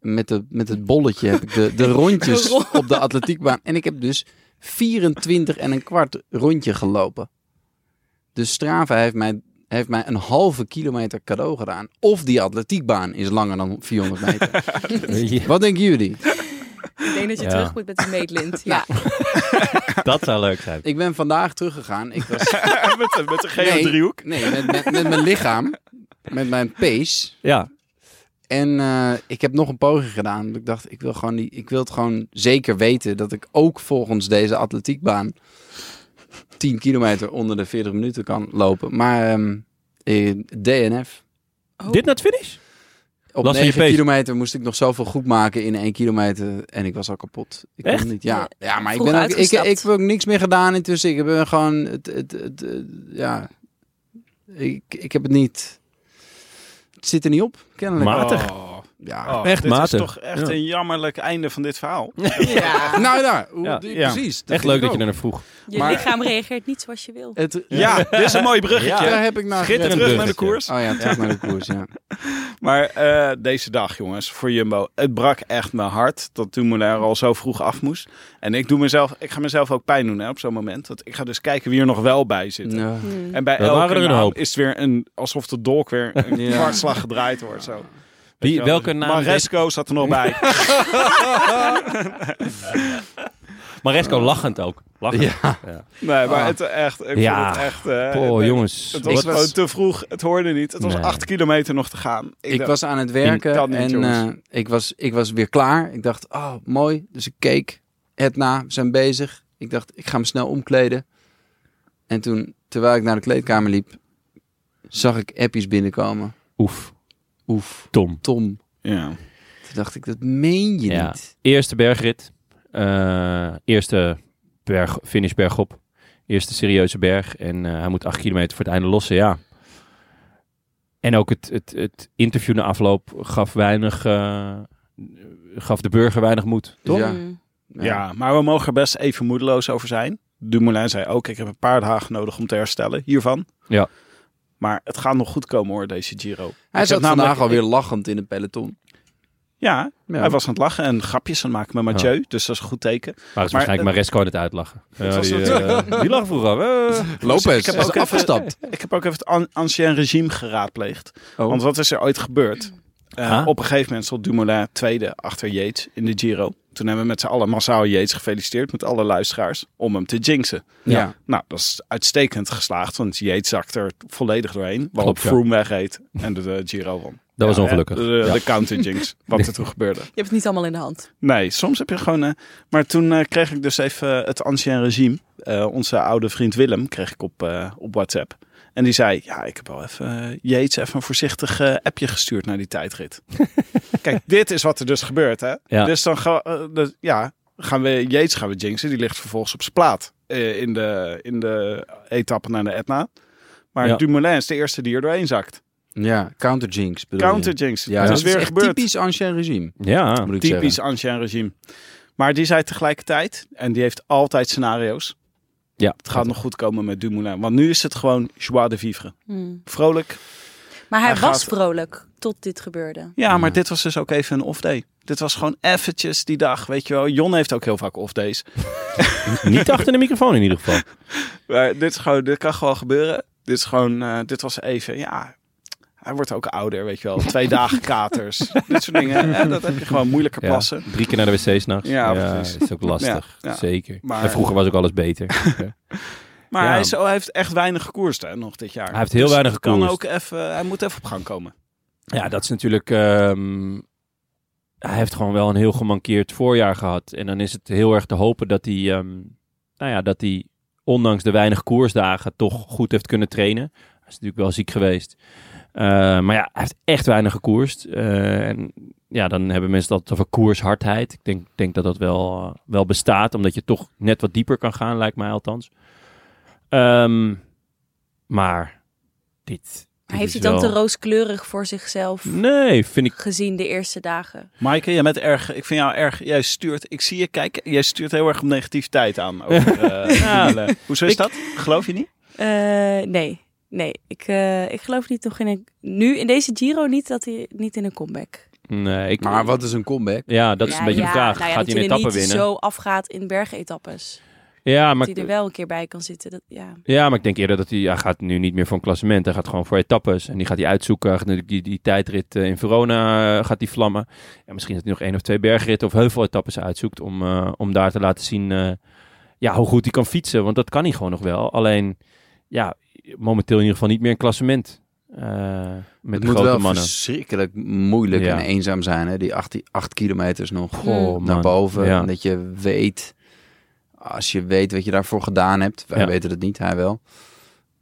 S2: Met, de, met het bolletje heb ik de, de rondjes
S4: De rol.
S2: op de atletiekbaan. En ik heb dus 24 en een kwart rondje gelopen. Dus Strava heeft mij, heeft mij een halve kilometer cadeau gedaan. Of die atletiekbaan is langer dan 400 meter. Wat denken jullie?
S4: Ik denk dat je
S1: Ja.
S4: terug moet met de meetlint. Ja.
S1: Dat zou leuk zijn.
S2: Ik ben vandaag teruggegaan. Ik was,
S3: met, de- met de geodriehoek.
S2: nee, met, met, met mijn lichaam. Met mijn pace.
S1: Ja,
S2: En eh, ik heb nog een poging gedaan. want Ik dacht, ik wil, gewoon die, ik wil het gewoon zeker weten dat ik ook volgens deze atletiekbaan 10 kilometer onder de 40 minuten kan lopen. Maar ehm, eh, DNF.
S4: Oh.
S1: dit naar het finish?
S2: Op
S1: Last van je
S2: 9
S1: pees.
S2: kilometer moest ik nog zoveel goed maken in 1 kilometer. En ik was al kapot. Ik kon
S1: Echt?
S2: Niet, ja, ja, maar ik,
S4: Eh, Vroeg
S2: ben ook, ik,
S4: uitgestapt.
S2: ik heb ook niks meer gedaan intussen. Ik heb eh, gewoon... Het, het, het, eh, ja, ik, ik heb het niet... Het zit er niet op, kennelijk.
S1: Matig.
S3: Oh.
S2: Ja.
S3: Oh,
S1: Echt
S3: dit
S1: matig.
S3: is toch echt
S1: Ja.
S3: een jammerlijk einde van dit verhaal.
S2: Nou, nou, hoe-
S1: Ja.
S2: die-
S3: Ja.
S2: precies.
S1: Echt leuk dat je er naar vroeg.
S4: Je
S2: Maar-
S4: lichaam reageert niet zoals je wil.
S2: Het,
S3: Ja, dit is een mooi bruggetje.
S2: Daar heb ik naar
S3: Schitterend
S2: gered.
S3: terug naar de koers.
S2: Oh ja, terug naar de koers, ja.
S3: Maar eh, deze dag, jongens, voor Jumbo. Het brak echt mijn hart dat Dumoulin er al zo vroeg af moest. En ik, doe mezelf, ik ga mezelf ook pijn doen hè, op zo'n moment. Want ik ga dus kijken wie er nog wel bij zit.
S2: Hm. Ja.
S3: En bij
S1: Er
S3: elke
S1: waren er een
S3: naam
S1: hoop.
S3: is het weer een, alsof de dolk weer een
S2: Ja.
S3: kwartslag gedraaid wordt. Zo. Weet
S1: Wie,
S3: je wel,
S1: welke
S3: dus
S1: naam?
S3: Maresco zat er nog bij.
S1: deed- Maresco lachend ook. Lachend.
S3: nee, maar
S2: Ah.
S3: het echt... Ik
S1: Ja.
S3: vond het echt... eh,
S1: Oh,
S3: het-
S1: jongens.
S3: Het was
S2: Ik was-
S3: gewoon te vroeg. Het hoorde niet. Het was
S1: Nee.
S3: acht kilometer nog te gaan.
S2: Ik
S3: dacht,
S2: was aan het werken
S3: kan niet,
S2: en
S3: jongens.
S2: eh, ik, was, ik was weer klaar. Ik dacht, oh, mooi. Dus ik keek het na, we zijn bezig. Ik dacht, ik ga me snel omkleden. En toen, terwijl ik naar de kleedkamer liep, zag ik appies binnenkomen.
S1: Oef,
S2: Oef,
S1: Tom.
S2: Tom.
S3: Ja.
S2: Toen dacht ik, dat meen je
S1: Ja.
S2: niet.
S1: Eerste bergrit. Eh, eerste berg, finish bergop. Eerste serieuze berg. En eh, hij moet acht kilometer voor het einde lossen, ja. En ook het, het, het interview na afloop gaf weinig... eh, gaf de burger weinig moed.
S2: Toch?
S4: Ja.
S2: Ja.
S4: Mm.
S3: Ja, maar we mogen er best even moedeloos over zijn. Dumoulin zei ook, ik heb een paar dagen nodig om te herstellen hiervan.
S1: Ja.
S3: Maar het gaat nog goed komen hoor, deze Giro.
S2: Hij
S3: Ik
S2: zat
S3: heb namelijk-
S2: vandaag alweer lachend in het peloton.
S3: Ja,
S2: Ja.
S3: hij was aan het lachen en grapjes aan het maken met Mathieu. Dus dat is een goed teken.
S1: Maar het is waarschijnlijk Maresco aan het uitlachen. Ja,
S3: eh, was
S1: die,
S3: natuurlijk-
S1: eh, die lag vroeg af. eh.
S2: Lopez
S3: ik heb
S2: is
S3: ook even-
S2: afgestapt.
S3: Ik heb ook even het an- ancien regime geraadpleegd.
S2: Oh.
S3: Want wat is er ooit gebeurd? Eh,
S1: Ah.
S3: Op een gegeven moment stond Dumoulin tweede achter Yates in de Giro. Toen hebben we met z'n allen massaal Yates gefeliciteerd met alle luisteraars om hem te jinxen.
S2: Ja.
S3: Nou, dat is uitstekend geslaagd, want Yates zakt er volledig doorheen. Waarop
S1: Klopt, ja.
S3: Froome wegreed en de, de Giro won.
S1: Dat was
S3: Ja,
S1: ongelukkig.
S3: hè, De, de
S1: Ja. eh,
S3: counter jinx, wat er toen gebeurde.
S4: Je hebt het niet allemaal in de hand.
S3: Nee, soms heb je gewoon... eh, maar toen eh, kreeg ik dus even eh, het ancien regime. Eh, onze oude vriend Willem kreeg ik op, eh, op WhatsApp. En die zei, ja, ik heb wel even eh, Jeets even een voorzichtig eh, appje gestuurd naar die tijdrit. Kijk, dit is wat er dus gebeurt, hè?
S1: Ja.
S3: Dus dan ga, eh, dus, ja, gaan we Jeets gaan we jinxen. Die ligt vervolgens op zijn plaat eh, in, de, in de etappe naar de Etna. Maar
S1: Ja.
S3: Dumoulin is de eerste die er doorheen zakt.
S2: Ja, counter jinx bedoel je?
S3: Counter jinx.
S2: Ja,
S3: dat
S2: dat
S3: is weer
S2: echt
S3: gebeurd.
S2: typisch ancien regime,
S1: Ja.
S2: moet ik
S3: Typisch
S2: zeggen.
S3: ancien regime. Maar die zei tegelijkertijd, en die heeft altijd scenario's.
S1: ja.
S3: Het gaat nog goed komen met Dumoulin. Want nu is het gewoon joie de vivre.
S4: Mm.
S3: Vrolijk.
S4: Maar hij,
S3: Hij
S4: was
S3: gaat-
S4: vrolijk tot dit gebeurde.
S3: Ja, maar dit was dus ook even een off-day. Dit was gewoon eventjes die dag, weet je wel. Jon heeft ook heel vaak off-days.
S1: Niet achter de microfoon in ieder geval.
S3: Maar dit, is gewoon, dit kan gewoon gebeuren. Dit, is gewoon, eh, dit was even, ja... Hij wordt ook ouder, weet je wel. Twee dagen katers. Dit soort dingen. hè, dat heb je gewoon moeilijker
S1: Ja.
S3: plassen.
S1: Drie keer naar de wc s'nachts.
S3: Ja,
S1: Ja,
S3: precies.
S1: Dat is ook lastig.
S3: Ja, ja.
S1: Zeker.
S3: Maar-
S1: En vroeger was ook alles beter.
S3: Maar
S1: Ja.
S3: hij, is, oh, hij heeft echt weinig gekoerst hè, nog dit jaar.
S1: Hij heeft heel weinig
S3: het Kan
S1: gekoerst.
S3: ook even, hij moet even op gang komen.
S1: ja, dat is natuurlijk... ehm, hij heeft gewoon wel een heel gemankeerd voorjaar gehad. En dan is het heel erg te hopen dat hij... ehm, nou ja, dat hij ondanks de weinig koersdagen toch goed heeft kunnen trainen. Hij is natuurlijk wel ziek geweest. Eh, maar ja, hij heeft echt weinig gekoerst. Eh, en ja, dan hebben mensen dat over koershardheid. Ik denk, denk dat dat wel, eh, wel bestaat, omdat je toch net wat dieper kan gaan, lijkt mij althans. Ehm, maar dit. dit
S4: Maar heeft
S1: is
S4: hij dan
S1: wel- Hm?
S4: te rooskleurig voor zichzelf
S1: Nee, vind ik.
S4: gezien de eerste dagen?
S3: Maaike, jij bent erg. Ik vind jou erg. Jij stuurt. Ik zie je kijken. Jij stuurt heel erg op negativiteit aan. Over, eh,
S1: Ja.
S3: Dumoulin. Hoezo is
S1: Ik-
S3: dat? Geloof je niet?
S4: Eh, nee, nee. Ik, eh, ik geloof niet nog in een... Nu, in deze Giro niet, dat hij niet in een comeback.
S1: Nee, ik
S2: Maar wat is een comeback?
S1: Ja, dat is
S4: Ja,
S1: een beetje
S4: ja,
S1: de vraag.
S4: nou ja,
S1: Gaat hij
S4: dat
S1: een
S4: je er
S1: etappe
S4: niet
S1: winnen?
S4: zo afgaat in bergetappes.
S1: Ja,
S4: Dat
S1: maar,
S4: hij er wel een keer bij kan zitten. Dat, ja.
S1: ja, maar ik denk eerder dat hij, hij gaat nu niet meer voor een klassement. Hij gaat gewoon voor etappes. En die gaat hij uitzoeken. Hij gaat natuurlijk die, die tijdrit eh, in Verona eh, gaat die vlammen. En misschien dat hij nog één of twee bergritten of heuveletappes uitzoekt. Om, eh, om daar te laten zien eh, ja, hoe goed hij kan fietsen. Want dat kan hij gewoon nog wel. Alleen, ja, momenteel in ieder geval niet meer een klassement. eh, met
S2: Het
S1: de
S2: moet
S1: grote
S2: wel
S1: mannen.
S2: verschrikkelijk moeilijk
S1: Ja.
S2: en eenzaam zijn. Hè? Die acht, acht kilometers nog
S3: Mm.
S1: Goh,
S2: naar
S1: man.
S2: boven.
S1: Ja.
S2: En dat je weet, als je weet wat je daarvoor gedaan hebt. Wij
S1: Ja.
S2: weten het niet, hij wel.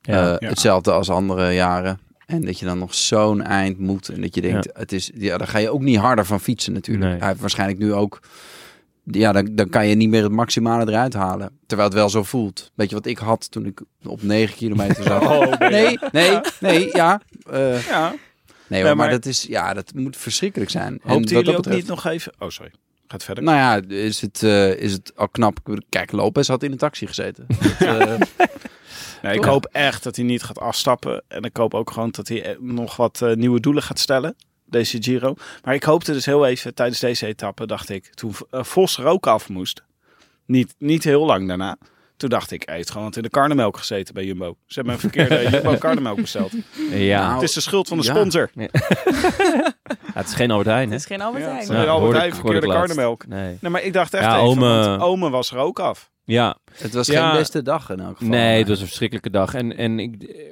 S1: Ja.
S2: Eh,
S3: Ja.
S2: Hetzelfde als andere jaren. En dat je dan nog zo'n eind moet. En dat je denkt, het is, ja, daar ga je ook niet harder van fietsen natuurlijk.
S1: Nee.
S2: Hij heeft waarschijnlijk nu ook... Ja, dan, dan kan je niet meer het maximale eruit halen. Terwijl het wel zo voelt. Weet je wat ik had toen ik op 9 kilometer zat?
S3: Oh,
S2: Nee, nee, nee, ja. eh,
S3: Ja.
S2: Nee, hoor,
S3: Nee,
S2: maar
S3: maar-
S2: dat, is, ja, dat moet verschrikkelijk zijn. En
S3: Hoopt
S2: wat dat
S3: jullie ook
S2: betreft-
S3: niet nog even... Oh, sorry. Gaat verder.
S2: Nou ja, is het, eh, is het al knap. Kijk, Lopez had in een taxi gezeten. Dat, eh,
S3: Nee, ik
S2: Toch?
S3: hoop echt dat hij niet gaat afstappen. En ik hoop ook gewoon dat hij eh, nog wat eh, nieuwe doelen gaat stellen. Deze Giro. Maar ik hoopte dus heel even tijdens deze etappe, dacht ik, toen eh, Vos er ook af moest. Niet, niet heel lang daarna. Toen dacht ik, hij heeft gewoon wat in de karnemelk gezeten bij Jumbo. Ze hebben een verkeerde Jumbo karnemelk besteld.
S1: Ja.
S2: nou,
S3: Het is de schuld van de
S2: ja.
S3: sponsor.
S1: het is geen Albert Heijn,
S4: Het
S1: hè?
S4: is geen Albert
S3: Ja,
S4: Heijn.
S3: het is- Albert
S1: hoorde
S3: Heijn,
S1: ik-
S3: verkeerde
S1: hoorde ik laatst.
S3: karnemelk.
S1: Nee.
S3: Nee, maar ik dacht echt
S1: Ja,
S3: even,
S1: ome-
S3: want ome was er ook af.
S1: Ja,
S2: het was
S1: Ja.
S2: geen beste dag in elk geval.
S1: Nee, het was een verschrikkelijke dag. En, en ik, eh,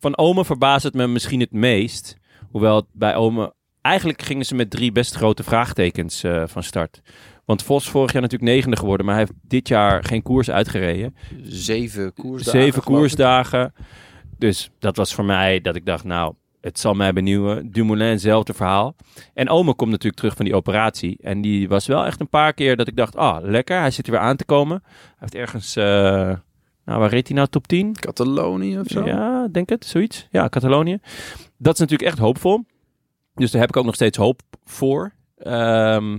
S1: van Omen verbaast het me misschien het meest. Hoewel het bij Omen... Eigenlijk gingen ze met drie best grote vraagtekens eh, van start. Want Vos vorig jaar natuurlijk negende geworden, maar hij heeft dit jaar geen koers uitgereden.
S2: Zeven koersdagen.
S1: Zeven
S2: geloof ik.
S1: koersdagen. Dus dat was voor mij dat ik dacht, nou, het zal mij benieuwen. Dumoulin, hetzelfde verhaal. En Omen komt natuurlijk terug van die operatie. En die was wel echt een paar keer dat ik dacht, ah, lekker, hij zit er weer aan te komen. Hij heeft ergens, eh, nou, waar reed hij nou, top 10?
S2: Catalonië of zo.
S1: Ja, denk het, zoiets. Ja, Catalonië. Dat is natuurlijk echt hoopvol. Dus daar heb ik ook nog steeds hoop voor. Ehm,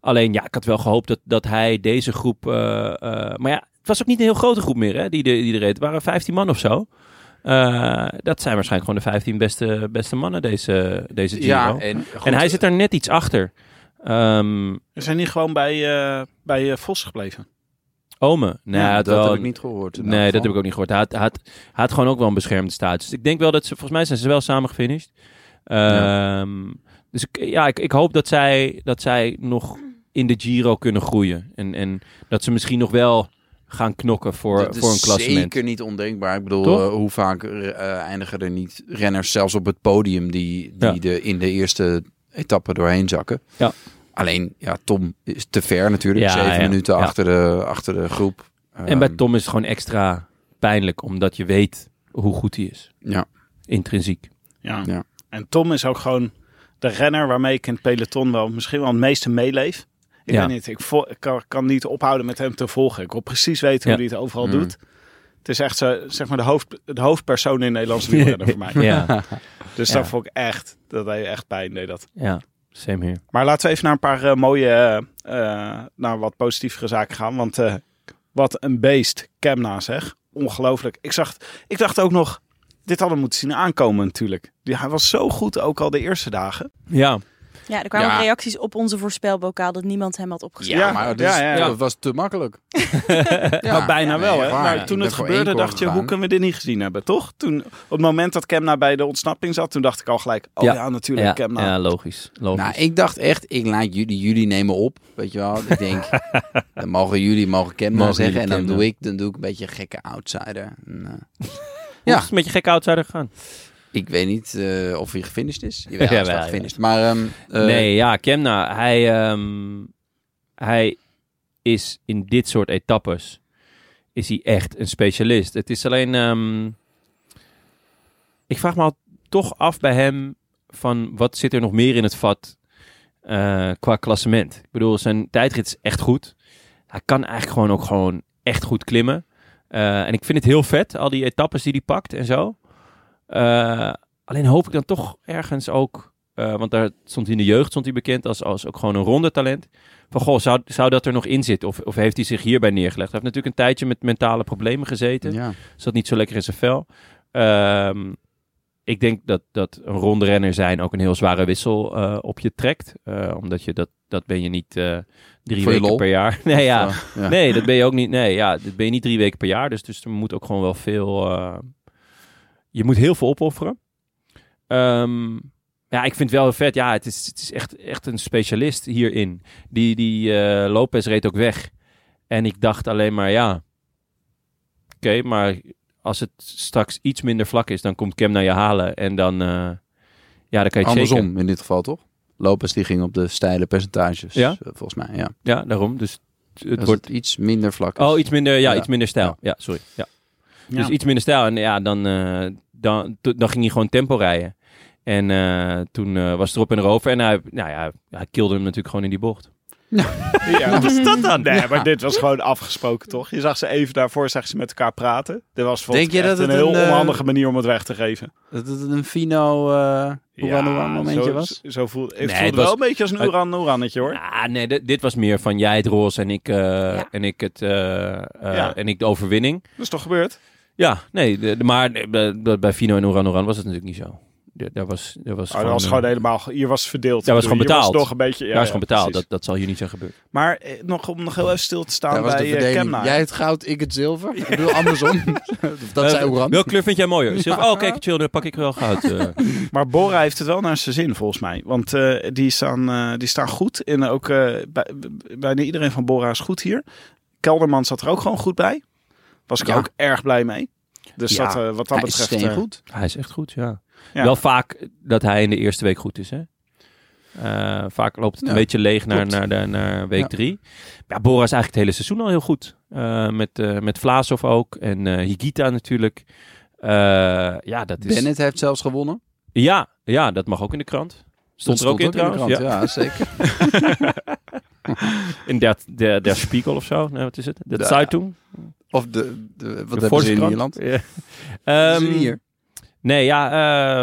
S1: alleen ja, ik had wel gehoopt dat, dat hij deze groep. eh, eh, maar ja, het was ook niet een heel grote groep meer hè, die, de, die er reed. Het waren 15 man of zo. Eh, dat zijn waarschijnlijk gewoon de 15 beste, beste mannen deze, deze Giro.
S2: Ja,
S1: en,
S2: en, goed,
S1: hij zit daar net iets achter. Ehm
S3: We zijn niet gewoon bij, eh, bij eh, Vos gebleven.
S1: Ome. Nou,
S2: ja,
S1: hij had
S2: dat
S1: wel
S2: heb
S1: een-
S2: ik niet gehoord. in
S1: Nee,
S2: elk
S1: dat heb
S2: geval.
S1: ik ook niet gehoord. Hij had, hij had, hij had gewoon ook wel een beschermde status. Dus ik denk wel dat ze, volgens mij zijn ze wel samen gefinished. Ehm, Dus ik, ja, ik, ik hoop dat zij, dat zij nog in de Giro kunnen groeien. En, en dat ze misschien nog wel gaan knokken voor,
S2: Dat
S1: voor
S2: is
S1: een klassement.
S2: zeker niet ondenkbaar. Ik bedoel,
S1: Toch?
S2: eh, hoe vaak eh, eindigen er niet renners zelfs op het podium die, die
S1: Ja.
S2: de, in de eerste etappe doorheen zakken.
S1: Ja.
S2: Alleen, ja, Tom is te ver natuurlijk.
S1: Ja,
S2: Zeven
S1: ja,
S2: minuten
S1: ja.
S2: Achter, de, achter de groep.
S1: En bij
S2: Ehm,
S1: Tom is het gewoon extra pijnlijk, omdat je weet hoe goed hij is.
S2: Ja.
S1: Intrinsiek.
S3: Ja.
S2: Ja.
S3: En Tom is ook gewoon de renner waarmee ik in het peloton wel misschien wel het meeste meeleef. Ik
S1: Ja.
S3: weet niet, ik, vol- ik kan, kan niet ophouden met hem te volgen. Ik wil precies weten hoe
S1: Ja.
S3: hij het overal
S2: Mm.
S3: doet. Het is echt zo, zeg maar de, hoofd, de hoofdpersoon in de Nederlandse wielrenner voor mij.
S1: Ja,
S3: Dus
S1: Ja.
S3: dat vond ik echt, dat hij echt pijn deed dat.
S1: ja. Same hier.
S3: Maar laten we even naar een paar eh, mooie, eh, eh, naar wat positievere zaken gaan. Want eh, wat een beest Kemna zeg. Ongelooflijk. Ik, zag, ik dacht ook nog, dit hadden we moeten zien aankomen natuurlijk. Die, hij was zo goed ook al de eerste dagen.
S1: Ja,
S4: Ja, er kwamen
S2: Ja.
S4: reacties op onze voorspelbokaal dat niemand hem had opgeschreven.
S2: Ja,
S3: Ja,
S2: maar dat,
S3: ja,
S2: is-
S3: ja,
S1: ja.
S2: dat was te makkelijk.
S3: nou, bijna wel. Hè?
S2: Maar
S3: maar toen het gebeurde, dacht je, hoe kunnen we dit niet gezien hebben, toch? Toen, op het moment dat Kemna bij de ontsnapping zat, toen dacht ik al gelijk, oh ja,
S1: Ja.
S3: natuurlijk,
S1: ja,
S3: Kemna.
S1: ja, logisch. logisch.
S2: Nou, ik dacht echt, ik laat jullie, jullie nemen op, weet je wel. Ik denk, dan mogen jullie, mogen Ken maar
S1: Mogen
S2: zeggen. En
S1: jullie
S2: dan
S1: Ken
S2: doe ik, dan doe ik een beetje een gekke outsider. En, eh,
S1: Hoe
S2: ja.
S1: is het met je gekke outsider gegaan?
S2: Ik weet niet eh, of hij gefinished is. Jawel, hij
S1: Jawel,
S2: is wel
S1: ja.
S2: gefinished. Maar ehm, eh,
S1: nee, ja, Kemna, hij, ehm, hij is in dit soort etappes is hij echt een specialist. Het is alleen, ehm, ik vraag me al toch af bij hem van wat zit er nog meer in het vat eh, qua klassement. Ik bedoel, zijn tijdrit is echt goed. Hij kan eigenlijk gewoon ook gewoon echt goed klimmen. Eh, en ik vind het heel vet, al die etappes die hij pakt en zo. Eh, alleen hoop ik dan toch ergens ook eh, want daar stond hij in de jeugd stond hij bekend als, als ook gewoon een ronde talent. Van goh, zou, zou dat er nog in zitten? Of, of heeft hij zich hierbij neergelegd? Hij heeft natuurlijk een tijdje met mentale problemen gezeten.
S2: ja.
S1: Zat niet zo lekker in zijn vel. Ehm, ik denk dat, dat een ronde renner zijn ook een heel zware wissel eh, op je trekt. Eh, omdat je dat, dat ben je niet eh, drie
S2: Voor je
S1: weken
S2: lol.
S1: per jaar. Nee, ja.
S2: Of, eh, ja.
S1: Nee, dat ben je ook niet. Nee, ja, dat ben je niet drie weken per jaar. Dus, dus er moet ook gewoon wel veel. eh, je moet heel veel opofferen. Ehm, ja, ik vind het wel vet. Ja, het is, het is echt, echt een specialist hierin. Die, die eh, Lopez reed ook weg. En ik dacht alleen maar, ja. Oké, maar als het straks iets minder vlak is, dan komt Cam naar je halen. En dan. eh, ja, dan kan je het shaken.
S2: Andersom in dit geval, toch? Lopez die ging op de steile percentages,
S1: Ja?
S2: eh, volgens mij. Ja.
S1: Ja, daarom. Dus het
S2: Het
S1: wordt.
S2: wordt iets minder vlak. is.
S1: Oh, iets minder, ja,
S2: Ja.
S1: iets minder stijl.
S2: Ja.
S1: Ja, sorry. Ja.
S3: Ja.
S1: Dus iets minder stijl. En ja, dan, eh, dan, to- dan ging hij gewoon tempo rijden. En eh, toen eh, was het erop en erover. En hij, nou ja, hij kilde hem natuurlijk gewoon in die bocht.
S3: Ja, wat is dat dan? Nee, maar dit was gewoon afgesproken, toch? Je zag ze even daarvoor, zag ze met elkaar praten. Dit was vond
S2: Denk
S3: ik
S2: je
S3: echt
S2: dat het
S3: een heel
S2: een, eh,
S3: onhandige manier om het weg te geven.
S2: Dat het een fino eh Oeran Oeran momentje
S3: zo,
S2: was?
S3: Zo voelde,
S1: Nee,
S3: het
S1: het
S3: voelde
S1: was-
S3: wel een beetje als een Oeran Oerannetje, hoor.
S1: Ah, nee, dit, dit was meer van jij het roze en ik, eh, en ik, het, eh, eh,
S3: Ja.
S1: en ik de overwinning.
S3: Dat is toch gebeurd?
S1: Ja, nee, de- de- maar de- de- bij Fino en Oran Oran was het natuurlijk niet zo. De- Daar was, daar was
S3: Oh, dat was
S1: eh,
S3: gewoon helemaal... Hier was verdeeld.
S1: Ja, was
S3: Ik
S1: gewoon
S3: bedoel, hier
S1: betaald.
S3: Was nog een beetje, ja,
S1: daar is
S3: ja,
S1: gewoon betaald.
S3: precies.
S1: Dat, dat zal hier niet zijn gebeurd.
S3: Maar eh, nog, om nog heel even stil te staan
S2: Daar was de
S3: bij eh,
S2: verdeling.
S3: Kemna.
S2: Jij het goud, ik het zilver. Ik bedoel, andersom. dat
S1: Eh,
S2: zei Oeran.
S1: Welke kleur vind jij mooier? Zilver? Oh, kijk, chill, dan pak ik wel goud. eh.
S3: Maar Bora heeft het wel naar zijn zin, volgens mij. Want eh, die, staan, eh, die staan goed. En ook eh, bij, bijna iedereen van Bora is goed hier. Kelderman zat er ook gewoon goed bij. Was ik
S2: Ja.
S3: ook erg blij mee. Dus
S2: Ja,
S3: dat, eh, wat dat
S2: Hij is
S3: betreft... eh,
S2: steengoed.
S1: hij is echt goed, ja.
S3: Ja.
S1: Wel vaak dat hij in de eerste week goed is, hè? Eh, vaak loopt het
S2: Ja,
S1: een beetje leeg naar,
S2: klopt.
S1: naar, de, naar week
S2: Ja.
S1: drie. Ja, Bora is eigenlijk het hele seizoen al heel goed. Eh, met, eh met Vlaasov ook en eh, Higita natuurlijk. Eh, ja, dat is...
S2: Bennett heeft zelfs gewonnen.
S1: Ja, ja, dat mag ook in de krant. Stond
S2: Dat
S1: er ook in
S2: de
S1: trouwens.
S2: krant, ja, zeker.
S1: In der, der, der Spiegel of zo. Nee, wat is het? De
S2: Ja.
S1: Zeitung.
S2: Of de, de
S1: de
S2: wat hebben ze in
S1: Volkskrant.
S2: Nederland?
S1: Ja.
S2: Wat
S1: Ehm,
S2: is er hier?
S1: Nee, ja... eh,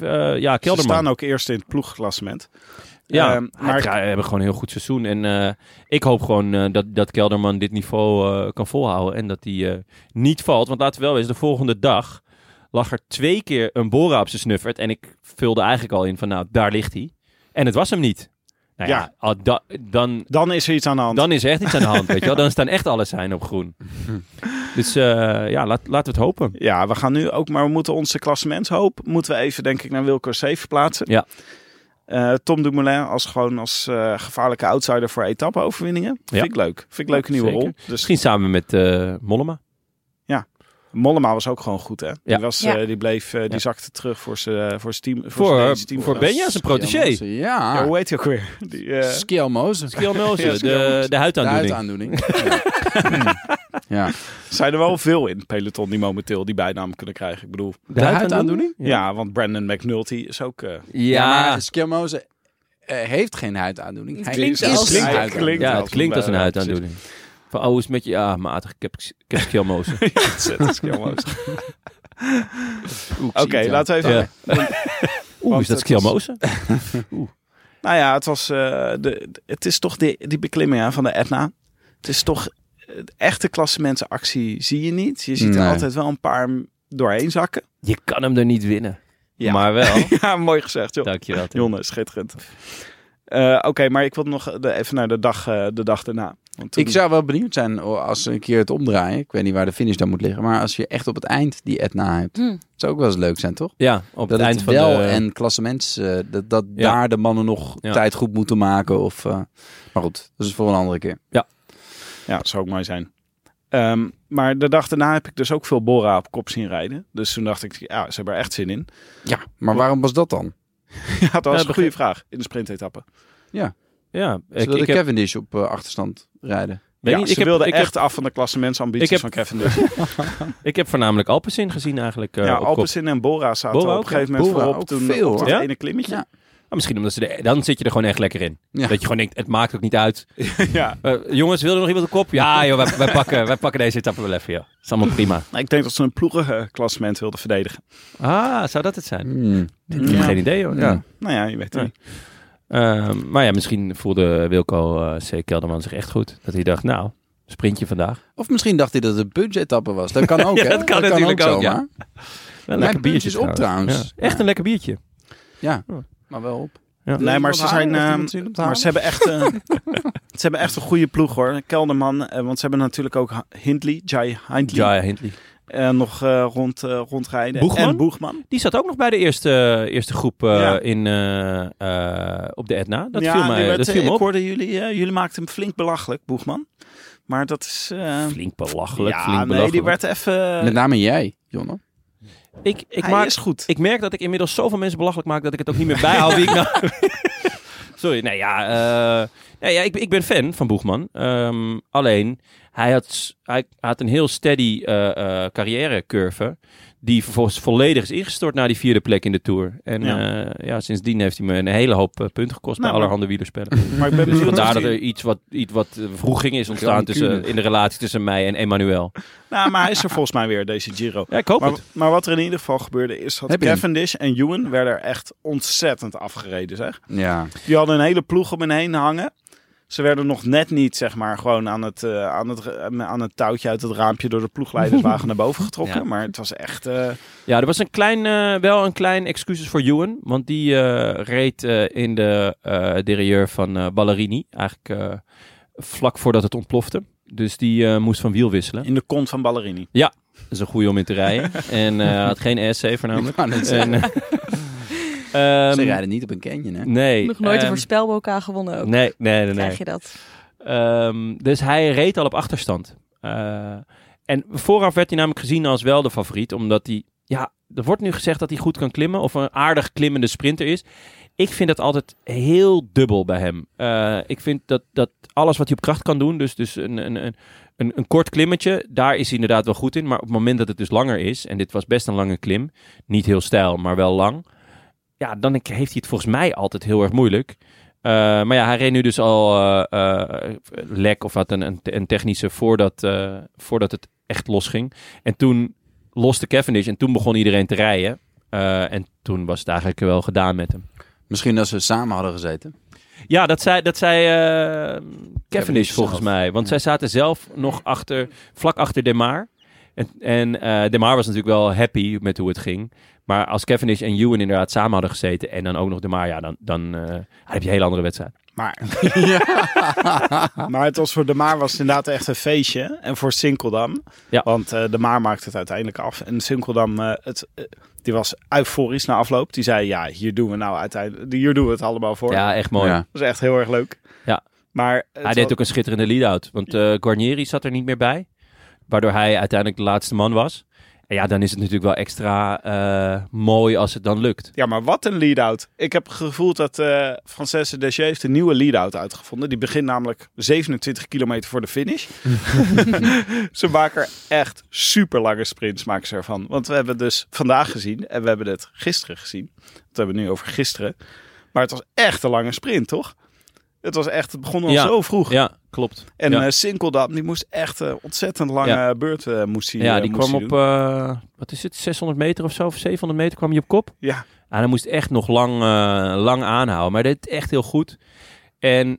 S1: eh, ja,
S3: Ze
S1: Kelderman.
S3: staan ook eerst in het ploegklassement.
S1: Ja,
S3: Ehm,
S1: maar
S3: maar
S1: ze hebben gewoon een heel goed seizoen. En eh, ik hoop gewoon eh, dat, dat Kelderman dit niveau eh, kan volhouden. En dat hij eh, niet valt. Want laten we wel wezen, de volgende dag lag er twee keer een Bora op zijn snuffert. En ik vulde eigenlijk al in van, nou, daar ligt hij. En het was hem niet. Nou ja,
S3: Ja.
S1: al da- dan,
S3: dan is er iets aan de hand.
S1: dan is er echt iets aan de hand, weet je wel. Dan staan echt alle zijn op groen. Dus eh, ja, laat, laten we het hopen.
S3: Ja, we gaan nu ook, maar we moeten onze klassementshoop moeten we even, denk ik, naar Wilco C verplaatsen.
S1: Ja.
S3: Eh, Tom Dumoulin als gewoon als eh, gevaarlijke outsider voor etappe-overwinningen.
S1: Ja.
S3: Vind ik leuk. Vind ik leuk een nieuwe
S1: Zeker.
S3: rol. Dus
S1: Misschien samen met eh, Mollema.
S3: Mollema was ook gewoon goed, hè?
S1: Ja.
S3: Die, was,
S4: Ja.
S3: eh, die, bleef, eh, die
S1: Ja.
S3: zakte terug voor zijn voor zijn team.
S1: Voor,
S3: zijn
S1: eh,
S3: Deense team.
S1: voor Benja zijn protégé.
S3: Ja,
S2: Ja,
S3: hoe heet hij ook weer? Die, eh,
S2: Skjelmozen.
S1: Kielmelze,
S3: Ja,
S1: de,
S3: Skjelmelze.
S1: de
S2: De
S1: huidaandoening.
S2: huidaandoening. ja.
S3: zijn er wel veel in het peloton die momenteel die bijnaam kunnen krijgen. Ik bedoel,
S1: De huidaandoening?
S3: ja, want Brandon McNulty is ook... eh,
S2: Ja,
S1: Ja,
S2: maar Skjelmozen eh, heeft geen huidaandoening.
S4: Het
S2: Hij
S4: klinkt
S2: is
S4: als-
S2: een
S4: Ja, het
S2: huidaandoening.
S3: klinkt
S1: Ja,
S3: wel
S1: het klinkt als een
S3: eh,
S1: huidaandoening. Van oh, is het met je... Ja, matig. Ik heb, ik heb schelmozen.
S3: Ontzettend skillmoos.
S2: Oeks,
S3: Oké,
S2: iets
S3: laten we even...
S1: Ja. Oeh, is dat
S3: Want het was-
S1: schelmozen?
S3: Nou ja, het, was, eh, de, de- het is toch die, die beklimming hè, van de Etna. Het is toch... eh, Echte klassementsactie zie je niet. Je ziet
S2: Nee.
S3: er altijd wel een paar m- doorheen zakken.
S1: Je kan hem er niet winnen.
S3: Ja.
S1: Maar wel.
S3: ja, mooi gezegd, joh.
S1: Dank je wel. Tim.
S3: Jonne, schitterend. Eh, Oké, maar ik wil nog de- even naar de dag, eh, de dag daarna. Want toen-
S2: Ik zou wel benieuwd zijn oh, als ze een keer het omdraaien. Ik weet niet waar de finish dan moet liggen. Maar als je echt op het eind die Etna hebt.
S4: Hm.
S2: Zou ook wel eens leuk zijn, toch?
S1: Ja, op
S2: dat
S1: het eind
S2: het
S1: van
S2: wel
S1: de...
S2: en klassements, eh, dat, dat
S1: Ja.
S2: daar de mannen nog
S1: Ja.
S2: tijd goed moeten maken. Of, eh, maar goed, dat is voor een andere keer.
S3: Ja, zou ook mooi zijn. Ehm, maar de dag daarna heb ik dus ook veel Bora op kop zien rijden. Dus toen dacht ik, ja, ze hebben er echt zin in.
S2: Ja, maar waarom was dat dan?
S3: Ja, dat was een
S1: begrijp-
S3: goede vraag in de sprintetappe.
S1: Ja, ik,
S2: Zodat
S1: ik,
S2: de
S1: heb,
S2: Cavendish op eh, achterstand rijden.
S1: weet
S3: Ja,
S1: niet,
S3: ze
S1: ik, heb,
S3: wilden
S1: ik,
S3: echt
S1: heb,
S3: af van de klassementsambities
S1: ik heb-
S3: van Kevin Dutch.
S1: ik heb voornamelijk Alpecin gezien eigenlijk. eh,
S3: ja,
S1: op kop.
S3: Alpecin en Bora zaten
S1: Bora
S3: op
S1: ook,
S3: een gegeven moment
S2: ja. Bora
S3: voorop
S2: ook
S3: toen
S2: veel,
S3: op dat
S1: hoor.
S3: ene klimmetje.
S2: Ja.
S3: Ja.
S1: Maar Nou, misschien omdat ze de, dan zit je er gewoon echt lekker in.
S2: Ja.
S1: Dat je gewoon denkt, het maakt ook niet uit. Eh, jongens, wil er nog iemand op kop? Ja, joh, wij, wij, pakken, wij pakken deze etappe wel even, joh. Is allemaal prima.
S3: Nou, ik denk dat ze een ploegenklassement wilden verdedigen.
S1: Ah, zou dat het zijn?
S2: Hmm.
S1: Ik heb
S3: Ja.
S1: geen idee, hoor.
S2: Ja.
S3: Nou ja, je weet het
S1: Nee.
S3: niet.
S1: Ehm, maar ja, misschien voelde Wilco eh, C. Kelderman zich echt goed. Dat hij dacht, nou, sprintje vandaag.
S2: Of misschien dacht hij dat het budgettappen was. Dat kan ook,
S1: Ja,
S2: hè?
S1: dat kan natuurlijk ook, ja.
S2: zomaar.
S1: Wel
S2: Mijn puntje is op trouwens.
S1: Ja, echt
S2: Ja.
S1: een lekker biertje.
S2: Maar wel op.
S1: Ja.
S3: Nee, maar ze zijn... ehm, maar ze hebben, echt, eh, ze hebben echt een goede ploeg, hoor. Kelderman, eh, want ze hebben natuurlijk ook Ha- Hindley, Jai Hindley,
S1: Jaya Hindley.
S3: eh, nog eh, rond, eh, rondrijden.
S1: Boegman?
S3: En Boegman.
S1: Die zat ook nog bij de eerste, eerste groep eh,
S3: Ja.
S1: in, eh, eh, op de Etna. Dat
S3: Ja,
S1: viel
S3: die
S1: mij,
S3: werd,
S1: dat
S3: eh,
S1: viel me
S3: Ik
S1: op.
S3: hoorde jullie, eh, jullie maakten hem flink belachelijk, Boegman. Maar dat is... eh,
S1: Flink belachelijk,
S3: ja,
S1: flink
S3: nee,
S1: belachelijk.
S3: die werd even...
S2: Met name jij, Jonne.
S1: ik, ik,
S3: Hij
S1: maak,
S3: is goed.
S1: ik merk dat ik inmiddels zoveel mensen belachelijk maak dat ik het ook niet meer bijhoud wie ik nou... Sorry, nee ja, eh, nee, ja ik, ik ben fan van Boegman. Ehm, alleen, Hij had, s- hij had een heel steady eh, eh, carrièrecurve. Die vervolgens volledig is ingestort naar die vierde plek in de Tour. En ja. ja, sindsdien heeft hij me een hele hoop eh, punten gekost
S3: Nou,
S1: bij
S3: maar-
S1: allerhande wielerspellen.
S3: Maar ik ben
S1: Dus
S3: benieuwd of
S1: vandaar dat er
S3: hij...
S1: iets wat, iets wat eh, wroeging is ontstaan
S2: Rancune.
S1: tussen, in de relatie tussen mij en Emmanuel.
S3: Nou, maar hij is er volgens mij weer, deze Giro.
S1: Ja, ik hoop
S3: Maar,
S1: het.
S3: maar wat er in ieder geval gebeurde is dat
S2: Heb je hem?
S3: Cavendish en Ewan werden er echt ontzettend afgereden, zeg.
S2: Ja.
S3: Die hadden een hele ploeg om hen heen hangen. Ze werden nog net niet, zeg maar, gewoon aan het, eh, aan het, eh, aan het touwtje uit het raampje door de ploegleiderswagen naar boven getrokken.
S1: Ja.
S3: Maar het was echt... eh,
S1: Ja, er was een klein, eh, wel een klein excuses voor Ewan. Want die eh, reed eh, in de eh derailleur van eh, Ballerini. Eigenlijk eh, vlak voordat het ontplofte. Dus die eh, moest van wiel wisselen.
S3: in de kont van Ballerini.
S1: Dat is een goede om in te rijden. en eh, had geen SC voornamelijk.
S2: kan het
S1: En, eh,
S2: Ze
S1: ehm,
S2: rijden niet op een canyon, hè?
S1: Nee.
S4: Nog nooit een
S1: ehm,
S4: voorspelbokaal gewonnen ook.
S1: Nee, nee, nee. nee.
S4: Krijg je dat?
S1: Ehm, dus hij reed al op achterstand. Eh, en vooraf werd hij namelijk gezien als wel de favoriet, omdat hij... Ja, er wordt nu gezegd dat hij goed kan klimmen of een aardig klimmende sprinter is. Ik vind dat altijd heel dubbel bij hem. Eh, ik vind dat, dat alles wat hij op kracht kan doen, dus, dus een, een, een, een, een kort klimmetje, daar is hij inderdaad wel goed in. Maar op het moment dat het dus langer is, en dit was best een lange klim, niet heel stijl, maar wel lang. Ja, dan heeft hij het volgens mij altijd heel erg moeilijk. Eh, maar ja, hij reed nu dus al eh, eh, lek of had een, een, een technische voordat, eh, voordat het echt losging. En toen loste Cavendish en toen begon iedereen te rijden. Eh, en toen was het eigenlijk wel gedaan met hem.
S2: Misschien dat ze samen hadden gezeten.
S1: Ja, dat zei, dat zei eh, Cavendish
S2: Cavendish
S1: volgens
S2: zelf.
S1: mij. Want
S2: Ja.
S1: zij zaten zelf nog achter, vlak achter Demar. En, en eh Demar was natuurlijk wel happy met hoe het ging. Maar als Cavendish en Ewan inderdaad samen hadden gezeten en dan ook nog Demar, ja, dan, dan eh, heb je een hele andere wedstrijd.
S3: Maar, maar het was voor De Maar was het inderdaad echt een feestje. En voor Sinkeldam.
S1: Ja.
S3: Want eh, De Maar maakte het uiteindelijk af. En Sinkeldam, eh, het, eh, die was euforisch na afloop. Die zei, ja, hier doen we nou uiteindelijk... Hier doen we het allemaal voor.
S1: Ja, echt mooi.
S2: Ja.
S3: Dat was echt heel erg leuk.
S1: Ja.
S3: Maar het
S1: Hij deed
S3: was-
S1: ook een schitterende lead-out. Want eh Guarnieri zat er niet meer bij. Waardoor hij uiteindelijk de laatste man was. En ja, dan is het natuurlijk wel extra eh, mooi als het dan lukt.
S3: Ja, maar wat een lead-out. Ik heb gevoeld dat eh Francesca Desje heeft een nieuwe lead-out uitgevonden. Die begint namelijk 27 kilometer voor de finish. ze maken er echt super lange sprints maken ze ervan. Want we hebben het dus vandaag gezien en we hebben het gisteren gezien. Dat hebben we nu over gisteren. Maar het was echt een lange sprint, toch? Het was echt, het begon al
S1: Ja.
S3: zo vroeg.
S1: Ja, klopt.
S3: En
S1: ja.
S3: eh Sinkeldam, die moest echt eh, ontzettend lange
S1: Ja.
S3: beurt eh, moest hij
S1: ja,
S3: eh,
S1: die
S3: moest
S1: kwam
S3: hij
S1: op,
S3: doen.
S1: eh, wat is het, 600 meter of zo, of 700 meter kwam hij op kop.
S3: Ja,
S1: En hij Nou, moest echt nog lang, eh, lang aanhouden. Maar hij deed het echt heel goed. En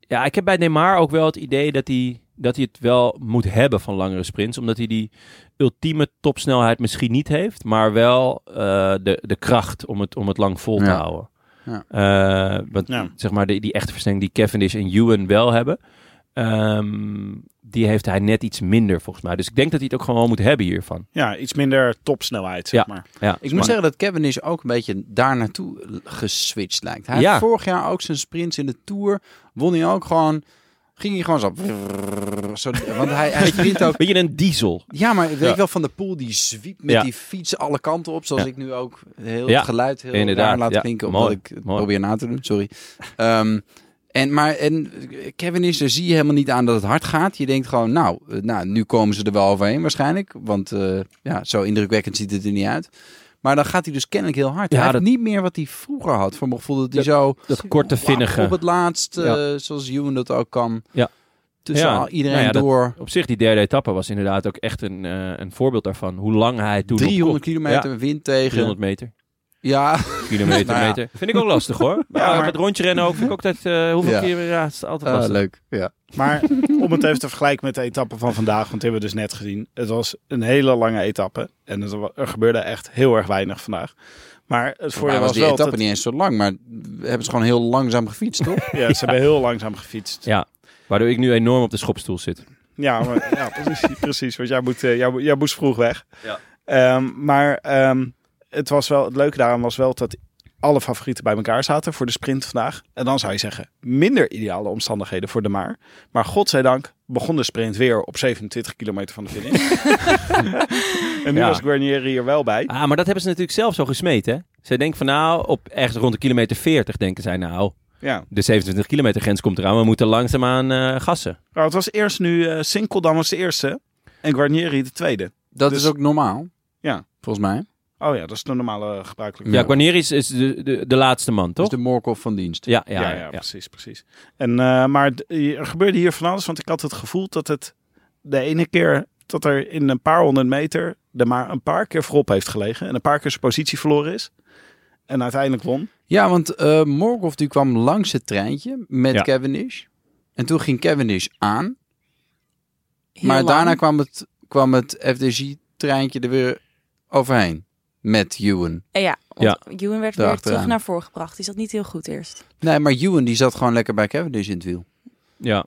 S1: ja, ik heb bij Neymar ook wel het idee dat hij, dat hij het wel moet hebben van langere sprints. Omdat hij die ultieme topsnelheid misschien niet heeft. Maar wel eh, de, de kracht om het, om het lang vol te
S2: Ja.
S1: houden.
S2: Ja.
S1: Eh, want
S3: Ja.
S1: zeg maar die, die echte versnelling die Cavendish en Ewan wel hebben. ehm, die heeft hij net iets minder volgens mij. Dus ik denk dat hij het ook gewoon moet hebben hiervan.
S3: ja, iets minder topsnelheid, zeg
S1: Ja.
S3: maar.
S1: Ja,
S2: Ik
S1: maar-
S2: moet zeggen dat Kevin is ook een beetje daar naartoe l- geswitcht lijkt. Hij
S1: Ja.
S2: heeft vorig jaar ook zijn sprints in de Tour. Won hij ook gewoon... Ging hij gewoon zo... zo want hij, hij sprint ook...
S1: Beetje een diesel.
S2: Ja, maar weet
S1: Ja.
S2: je wel, Van de Poel die zwiept met
S1: Ja.
S2: die fiets alle kanten op. Zoals ik nu ook heel
S1: Ja,
S2: het geluid heel
S1: inderdaad,
S2: raar laat
S1: ja.
S2: klinken.
S1: Mooi,
S2: Omdat ik het
S1: mooi.
S2: probeer na te doen, sorry. Ehm, en, maar en Kevin is, daar zie je helemaal niet aan dat het hard gaat. Je denkt gewoon, nou, eh, nou nu komen ze er wel overheen waarschijnlijk. Want eh, ja, zo indrukwekkend ziet het er niet uit. Maar dan gaat hij dus kennelijk heel hard.
S1: Ja,
S2: hij
S1: dat-
S2: heeft niet meer wat hij vroeger had. Voor mijn gevoel dat hij zo
S1: Dat korte vinnige.
S2: op het laatst, eh,
S1: Ja.
S2: zoals Ewan dat ook kan,
S1: Ja.
S2: tussen
S1: Ja,
S2: al iedereen
S1: nou ja, dat-
S2: door.
S1: Op zich, die derde etappe was inderdaad ook echt een, eh, een voorbeeld daarvan. Hoe lang hij toen op
S2: 300
S1: kop-
S2: kilometer
S1: Ja,
S2: wind tegen.
S1: 300 meter.
S2: Ja,
S1: Kilometer,
S2: Nou ja.
S1: meter. Vind ik ook lastig hoor. Maar
S3: maar-
S1: met rondjerennen ook. Vind ik ook dat, eh, hoeveel
S2: Ja.
S1: keer, ja, het is altijd
S2: Eh,
S1: lastig.
S2: leuk. Ja.
S3: Maar om het even te vergelijken met de etappe van vandaag, want die hebben we dus net gezien. Het was een hele lange etappe en het wa- er gebeurde echt heel erg weinig vandaag. Maar het
S2: Voor
S3: voordeel
S2: Nou, was
S3: was
S2: die
S3: wel
S2: etappe
S3: dat
S2: niet eens zo lang, maar we hebben ze gewoon heel langzaam gefietst, toch?
S3: ja, ze hebben heel langzaam gefietst. Ja,
S1: Ja, waardoor ik nu enorm op de schopstoel zit.
S3: maar, ja precies, precies, want jij, moet, eh, jij, mo- jij moest vroeg weg.
S1: Ja.
S3: Ehm, maar ehm, het, was wel, het leuke daaraan was wel dat alle favorieten bij elkaar zaten voor de sprint vandaag. En dan zou je zeggen, minder ideale omstandigheden voor de maar. Maar godzijdank begon de sprint weer op 27 kilometer van de finish. en nu
S1: Ja.
S3: was Guarnieri er wel bij.
S1: Ah, maar dat hebben ze natuurlijk zelf zo gesmeed hè. Zij denken van nou, op ergens rond de kilometer 40 denken zij nou.
S3: Ja.
S1: De 27 kilometer grens komt eraan. We moeten langzaamaan eh gassen.
S3: Maar Nou, het was eerst nu eh Sinkeldam was de eerste en Guarnieri de tweede.
S2: Dat
S3: Dus-
S2: is ook normaal.
S3: Ja.
S2: Volgens mij.
S3: Oh ja, dat is de normale eh, gebruikelijke.
S1: Ja,
S2: Ja.
S1: wanneer is, is de, de, de laatste man,
S2: Dus
S1: toch?
S2: de Morkov van dienst.
S1: Ja, ja,
S3: Ja,
S1: ja,
S3: ja, precies, precies. En, eh, maar d- er gebeurde hier van alles, want ik had het gevoel dat het de ene keer dat er in een paar honderd meter er maar een paar keer voorop heeft gelegen en een paar keer zijn positie verloren is. En uiteindelijk won.
S2: Ja, want eh Morkov die kwam langs het treintje met
S1: Ja.
S2: Cavendish. En toen ging Cavendish aan.
S5: Heel
S2: maar
S5: lang.
S2: daarna kwam het, kwam het FDG-treintje er weer overheen. Met Ewan.
S4: En Eh, ja, want Ewan werd weer
S2: Daarachteraan.
S4: terug naar voren gebracht. Die zat niet heel goed eerst.
S2: Nee, maar Ewan die zat gewoon lekker bij Cavendish in het wiel.
S1: Ja.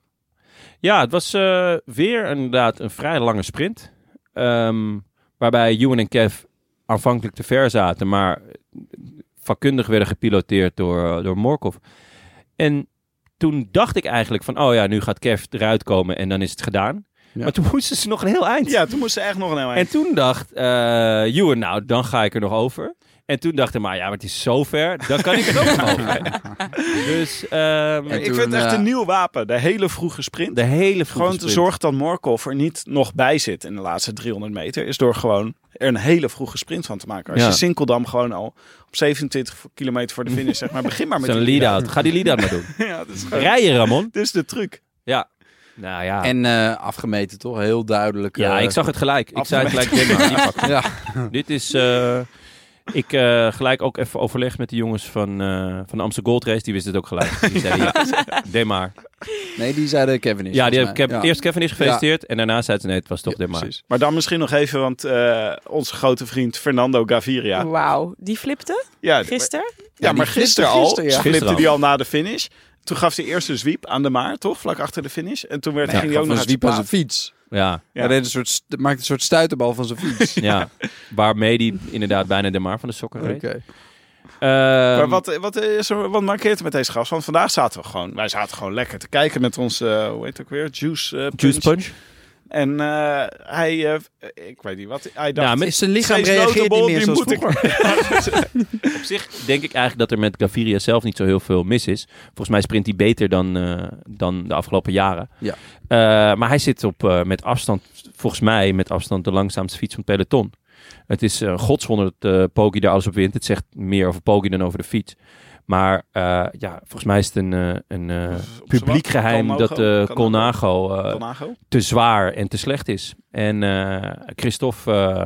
S1: Ja, het was eh, weer inderdaad een vrij lange sprint. Ehm, waarbij Ewan en Kev aanvankelijk te ver zaten, maar vakkundig werden gepiloteerd door, eh, door Morkov. En toen dacht ik eigenlijk van, oh ja, nu gaat Kev eruit komen en dan is het gedaan.
S2: Ja.
S1: Maar toen moesten ze nog een heel eind.
S3: Ja, toen moest ze echt nog een heel
S1: En
S3: eind.
S1: toen dacht eh Ewan, nou, dan ga ik er nog over. En toen dacht ik, maar ja, maar het is zo ver, dan kan ik er ook nog over. Dus ehm,
S2: En
S3: ik
S2: toen,
S3: vind het echt
S2: eh,
S3: een nieuw wapen, de hele vroege sprint.
S1: de hele vroege
S3: gewoon te
S1: sprint.
S3: zorgen dat Morkov er niet nog bij zit in de laatste 300 meter, is door gewoon er een hele vroege sprint van te maken. Als
S1: Ja.
S3: je Sinkeldam gewoon al op 27 kilometer voor de finish zeg maar, begin maar met
S1: Zo'n
S3: die
S1: lead-out. Ga die lead-out maar doen.
S3: Ja, dat is gewoon-
S1: Rijden, Ramon.
S3: Dit is de truc.
S1: Nou ja.
S2: En eh, afgemeten toch, heel duidelijk.
S1: ja,
S2: eh,
S1: ik zag het gelijk. Ik zei
S3: Afgemeten.
S1: gelijk, dit, maar, die pakken.
S2: Ja.
S1: dit is... eh, ik eh, gelijk ook even overlegd met de jongens van, eh, van de Amsterdam Gold Race. Die wisten het ook gelijk. Die zeiden, ja, deed maar.
S2: Nee, die zeiden Cavendish.
S1: Ja, die heb, ik
S2: volgens
S1: heb
S2: mij. Ja.
S1: eerst Kevin is gefeliciteerd. En daarna zeiden ze, nee, het was toch
S2: Ja,
S1: deed maar.
S2: precies.
S3: Maar dan misschien nog even, want eh, onze grote vriend Fernando Gaviria.
S4: Wauw, die flipte
S3: Ja,
S4: gisteren.
S3: ja,
S2: die
S3: maar
S2: flipte
S3: gisteren al.
S2: gisteren, ja.
S3: Flipte
S1: Gisteren
S3: die al na de finish. Toen gaf hij eerst een zwiep aan de maar, toch? Vlak achter de finish. En toen werd,
S2: Ja,
S3: ging
S2: gaf
S3: hij ook nog
S2: een
S3: uit
S2: zwiep aan
S3: zijn
S2: zijn fiets.
S1: Ja,
S3: Ja.
S2: Hij deed een soort, st- maakte een soort stuiterbal van zijn fiets.
S1: ja. Waarmee die inderdaad bijna de maar van de sokken reed.
S2: Oké.
S1: Ehm,
S3: Maar wat, wat, eh, is er, wat markeert het met deze gast? Want vandaag zaten we gewoon, wij zaten gewoon lekker te kijken met ons, eh, hoe heet het ook weer? Juice, eh, punch.
S1: Juice Punch?
S3: En eh, hij, eh, ik weet niet wat, hij dacht...
S1: Nou, met- Eh,
S2: Zijn lichaam
S3: Steeds
S2: reageert niet
S3: notable,
S2: meer
S3: die
S2: zoals
S3: moet ik-
S2: vroeger.
S1: Op zich denk ik eigenlijk dat er met Gaviria zelf niet zo heel veel mis is. Volgens mij sprint hij beter dan, eh, dan de afgelopen jaren.
S2: Ja.
S1: Eh, maar hij zit op, eh, met afstand, volgens mij met afstand de langzaamste fiets van het peloton. Het is eh godswonder dat eh Poggi daar alles op wint. Het zegt meer over Poggi dan over de fiets. Maar eh, ja, volgens mij is het een, eh, een eh,
S3: op
S1: publiek
S3: z'n wa-
S1: geheim
S3: Calmogo,
S1: dat eh
S3: Calmogo,
S1: Colnago eh,
S3: Colnago.
S1: te zwaar en te slecht is. En eh, Christophe eh,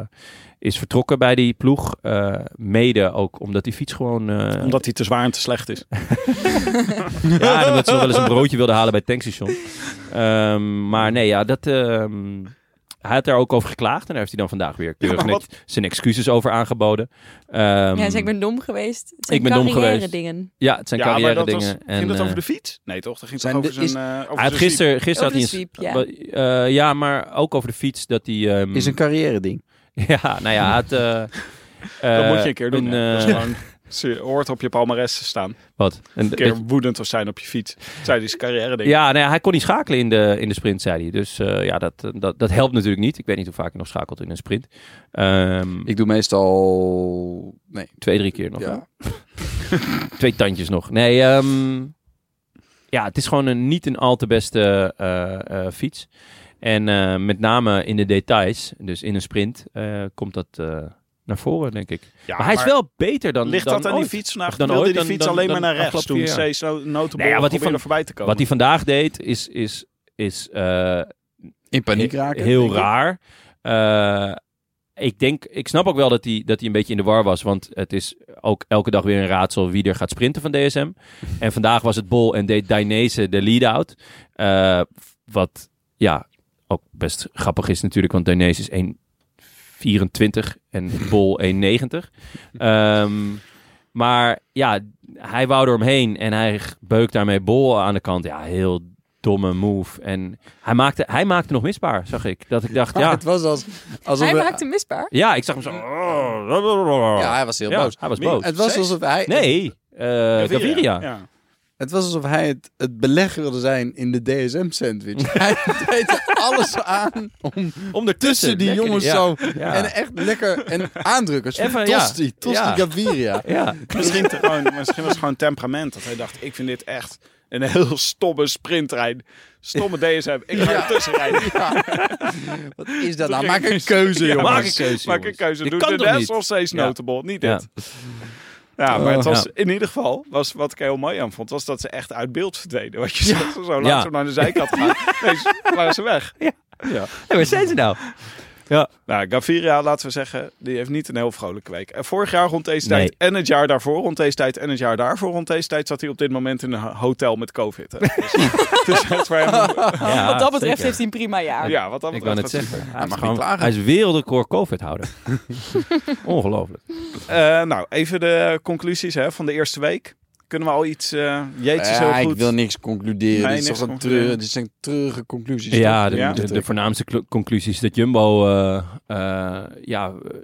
S1: is vertrokken bij die ploeg. eh, mede ook omdat die fiets gewoon... eh,
S3: Omdat hij te zwaar en te slecht is.
S1: Ja, en omdat ze nog wel eens een broodje wilden halen bij het tankstation. Ehm, maar nee, ja, dat... ehm, hij had daar ook over geklaagd en daar heeft hij dan vandaag weer keurig
S3: maar wat-
S1: net zijn excuses over aangeboden. Ehm,
S4: ja, dus ik ben dom geweest. Het zijn
S1: ik ben dom
S4: carrière
S1: geweest.
S4: dingen.
S1: ja, het zijn
S3: ja, maar
S1: carrière
S3: dat
S1: dingen.
S3: was,
S1: en,
S3: ging dat
S1: eh,
S3: over de fiets? Nee, toch? Dat ging toch
S2: zijn
S3: over
S2: de- is-
S3: zijn... eh, over
S1: hij had
S3: zijn zwiep.
S1: gisteren, gisteren
S4: Over
S1: had
S4: de
S1: hij
S4: sweep,
S1: een, Eh, ja, maar ook over de fiets dat hij... ehm,
S2: Is een carrière ding.
S1: Ja, nou ja, hij had... eh,
S3: Dat
S1: eh,
S3: moet je een keer doen. ja. dat is
S1: eh,
S3: gewoon, ze hoort op je palmarès te staan.
S1: wat? Een,
S3: Een keer woedend of zijn op je fiets. Zij die zijn carrière denk ik.
S1: Ja, nou ja, hij kon niet schakelen in de, in de sprint, zei hij. Dus eh, ja, dat, eh, dat, dat helpt natuurlijk niet. Ik weet niet hoe vaak hij nog schakelt in een sprint. Ehm,
S2: Ik doe meestal... Nee.
S1: Twee, drie keer nog.
S2: Ja.
S1: hè? Twee tandjes nog. Nee, ehm, ja, het is gewoon een, niet een al te beste eh, eh, fiets. En eh, met name in de details, dus in een sprint, eh, komt dat eh, naar voren, denk ik.
S3: Ja,
S1: maar hij is
S3: maar
S1: wel beter dan
S3: Ligt
S1: dan
S3: dat aan
S1: ooit.
S3: die fiets vandaag?
S1: Of dan
S3: Dan wilde
S1: ooit,
S3: die
S1: dan-
S3: fiets
S1: dan-
S3: alleen
S1: dan
S3: maar naar rechts
S1: afgelopen
S3: toen
S1: jaar.
S3: steeds notable
S1: Nee, ja, wat die
S3: probeerde
S1: van-
S3: voorbij te komen.
S1: Wat hij vandaag deed, is, is, is eh,
S2: In paniek raken.
S1: Heel
S2: denk ik.
S1: raar. Eh, ik denk, ik snap ook wel dat hij dat hij een beetje in de war was. Want het is ook elke dag weer een raadsel wie er gaat sprinten van DSM. en vandaag was het Bol en deed Dainese de lead-out. Eh, wat ja, ook best grappig is natuurlijk. Want Dainese is 1,24 en Bol 1,90. Ehm, maar ja, hij wou eromheen en hij beukt daarmee Bol aan de kant. Ja, heel domme move. En hij maakte, hij maakte nog misbaar, zag ik. Dat ik dacht,
S2: Maar
S1: ja,
S2: Ah, Het was als, alsof...
S4: Hij
S2: we-
S4: maakte misbaar.
S1: ja ik zag hem zo.
S2: Ja, hij was heel
S1: Ja,
S2: boos.
S1: hij was
S3: Nee,
S1: boos.
S2: Het was alsof hij...
S1: Nee, eh Gaviria.
S3: Ja.
S2: Het was alsof hij het, het belegger wilde zijn in de DSM-sandwich. hij deed er alles aan om
S1: Om ertussen.
S2: tussen die
S1: Lekker,
S2: jongens
S1: ja.
S2: zo...
S1: Ja.
S2: En echt lekker en aandrukkers.
S1: Even, ja.
S2: Tosti, Tosti
S1: Ja.
S2: Gaviria.
S1: Ja.
S3: Misschien, te gewoon, misschien was het gewoon temperament. Dat hij dacht, ik vind dit echt een heel stomme sprinttrein. Stomme DSM. Ik ga er tussen rijden.
S2: Wat is dat nou? Maak een keuze,
S3: Ja,
S2: jongens.
S3: maak een keuze. Maak een
S1: jongens.
S3: keuze.
S1: Dit
S3: Doe
S1: kan
S3: de
S1: toch
S3: Nes
S1: niet?
S3: of C's
S1: Ja.
S3: notable, niet
S1: Ja.
S3: dit. Ja, maar het was
S1: Eh, Ja.
S3: in ieder geval, was, wat ik heel mooi aan vond, was dat ze echt uit beeld verdwenen. Wat je
S1: Ja.
S3: zegt, zo langzaam naar de zijkant gaan. Nee, ze- waren ze weg.
S1: Hey, waar zijn ze nou?
S3: Nou, Gaviria, laten we zeggen, die heeft niet een heel vrolijke week. En vorig jaar rond deze
S1: Nee.
S3: tijd en het jaar daarvoor rond deze tijd en het jaar daarvoor rond deze tijd zat hij op dit moment in een hotel met COVID. hè. Dus, het is echt voor hem-
S1: Ja,
S6: Wat dat betreft
S1: zeker.
S6: heeft hij een prima jaar.
S3: ja, wat dan
S1: Ik wou net zeggen. Hij, is
S2: mag
S1: gewoon-
S2: niet klagen.
S1: hij is wereldrecord COVID-houder. Ongelooflijk.
S3: nou, even de conclusies hè, van de eerste week. Kunnen we al iets... eh jeetje, zo
S2: Ja,
S3: goed.
S2: ik wil niks concluderen.
S3: Nee,
S2: dit, is
S3: niks
S2: toch een
S3: concluderen.
S2: treur, dit zijn treurige conclusies.
S1: Ja,
S2: toch?
S1: de,
S3: Ja.
S1: de, de voornaamste cl- conclusie is dat Jumbo eh, eh, ja, eh,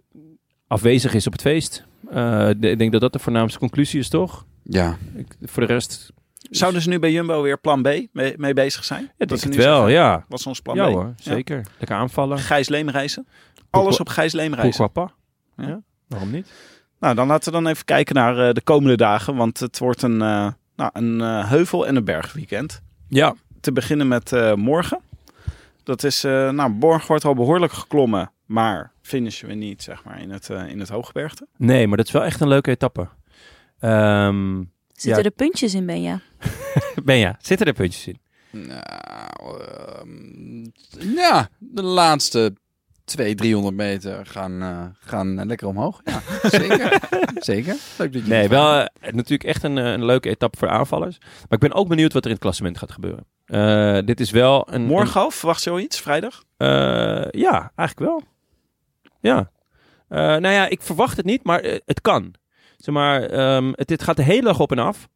S1: afwezig is op het feest. Eh, de- ik denk dat dat de voornaamste conclusie is, toch?
S2: Ja.
S1: Ik, voor de rest,
S3: Zouden ze nu bij Jumbo weer plan B mee, mee bezig zijn?
S1: ja,
S3: Dat
S1: denk
S3: ze
S1: het
S3: nu
S1: wel,
S3: zeggen,
S1: ja.
S3: Wat is ons plan
S1: Ja
S3: B?
S1: hoor, zeker. Lekker aanvallen.
S3: Gijs Leemreizen. Alles op Gijs Leemreizen.
S1: Koekwappa.
S3: Ja.
S1: Ja. waarom niet?
S3: Nou, dan laten we dan even kijken naar eh, de komende dagen. Want het wordt een, eh, nou, een eh, heuvel- en een bergweekend.
S1: Ja,
S3: Te beginnen met eh, morgen. Dat is, eh, nou, morgen wordt al behoorlijk geklommen. Maar finishen we niet, zeg maar, in het, eh, in het hooggebergte.
S1: nee, maar dat is wel echt een leuke etappe. Ehm
S4: Zitten
S1: Ja.
S4: er puntjes in, Benja?
S1: Benja, zitten er puntjes in?
S2: Nou, ehm, ja, de laatste 200, 300 meter gaan, eh, gaan eh, lekker omhoog. Ja, zeker. zeker. Leuk dat je
S1: Nee,
S2: het
S1: wel eh, natuurlijk echt een, eh, een leuke etappe voor aanvallers. Maar ik ben ook benieuwd wat er in het klassement gaat gebeuren. Eh, dit is wel een...
S3: Morgen al, verwacht zoiets, vrijdag?
S1: Eh, ja, eigenlijk wel. Ja. Eh, nou ja, ik verwacht het niet, maar eh, het kan. Zeg maar, ehm, het, dit gaat de hele dag op en af.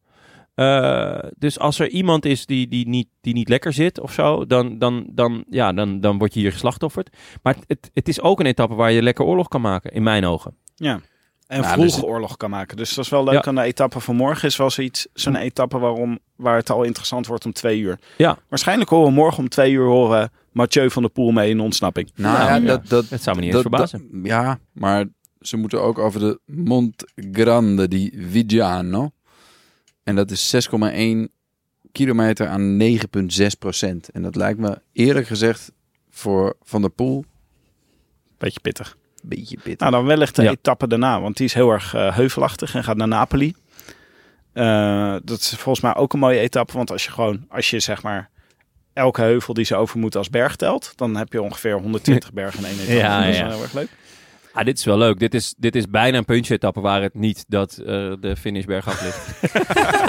S1: Eh, dus als er iemand is die, die, niet, die niet lekker zit of zo, dan, dan, dan, ja, dan, dan word je hier geslachtofferd. Maar het, het, het is ook een etappe waar je lekker oorlog kan maken, in mijn ogen.
S3: Ja. En
S2: Nou,
S3: vroeg
S2: dus-
S3: oorlog kan maken. Dus dat is wel leuk
S1: Ja.
S3: aan de etappe van morgen. Is wel zoiets, zo'n etappe waarom, waar het al interessant wordt om twee uur.
S1: Ja.
S3: Waarschijnlijk horen we morgen om twee uur horen Mathieu van der Poel mee in ontsnapping.
S2: Nou,
S1: Nou,
S2: ja,
S1: ja.
S2: dat, dat,
S1: Dat zou me niet eens verbazen.
S2: dat- ja, maar ze moeten ook over de Mont Grande di Vigiano. En dat is 6,1 kilometer aan 9,6 procent. En dat lijkt me eerlijk gezegd voor Van der Poel
S3: Beetje pittig.
S2: een beetje pittig.
S3: Nou, dan wellicht de
S1: Ja.
S3: etappe daarna, want die is heel erg eh, heuvelachtig en gaat naar Napoli. Eh, dat is volgens mij ook een mooie etappe, want als je gewoon, als je zeg maar elke heuvel die ze over moeten als berg telt, dan heb je ongeveer 120 bergen in één etappe.
S1: Ja,
S3: dat is
S1: ja.
S3: wel heel erg leuk.
S1: Ah, dit is wel leuk. Dit is, dit is bijna een puntje-etappe waar het niet dat eh, de finish bergaf ligt.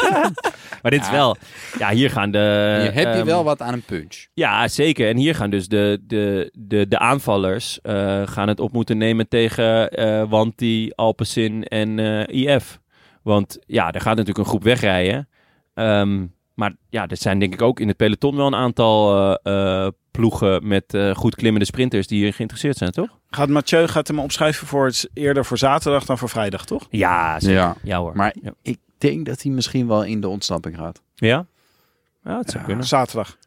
S1: maar dit is wel... Ja, hier gaan de...
S2: Hier heb je
S1: ehm,
S2: wel wat aan een punch.
S1: Ja, zeker. En hier gaan dus de, de, de, de aanvallers eh, gaan het op moeten nemen tegen eh Wanti, Alpecin en eh, IF. Want ja, er gaat natuurlijk een groep wegrijden. Ehm, maar ja, er zijn denk ik ook in het peloton wel een aantal eh, eh, ploegen met eh, goed klimmende sprinters die hier geïnteresseerd zijn, toch?
S3: Gaat Mathieu gaat hem opschrijven voor het, eerder voor zaterdag dan voor vrijdag, toch?
S1: Ja, zeker.
S2: Ja.
S1: Ja, hoor.
S2: Maar
S1: Ja.
S2: ik denk dat hij misschien wel in de ontsnapping gaat.
S1: Ja? Ja, het zou kunnen.
S3: Zaterdag.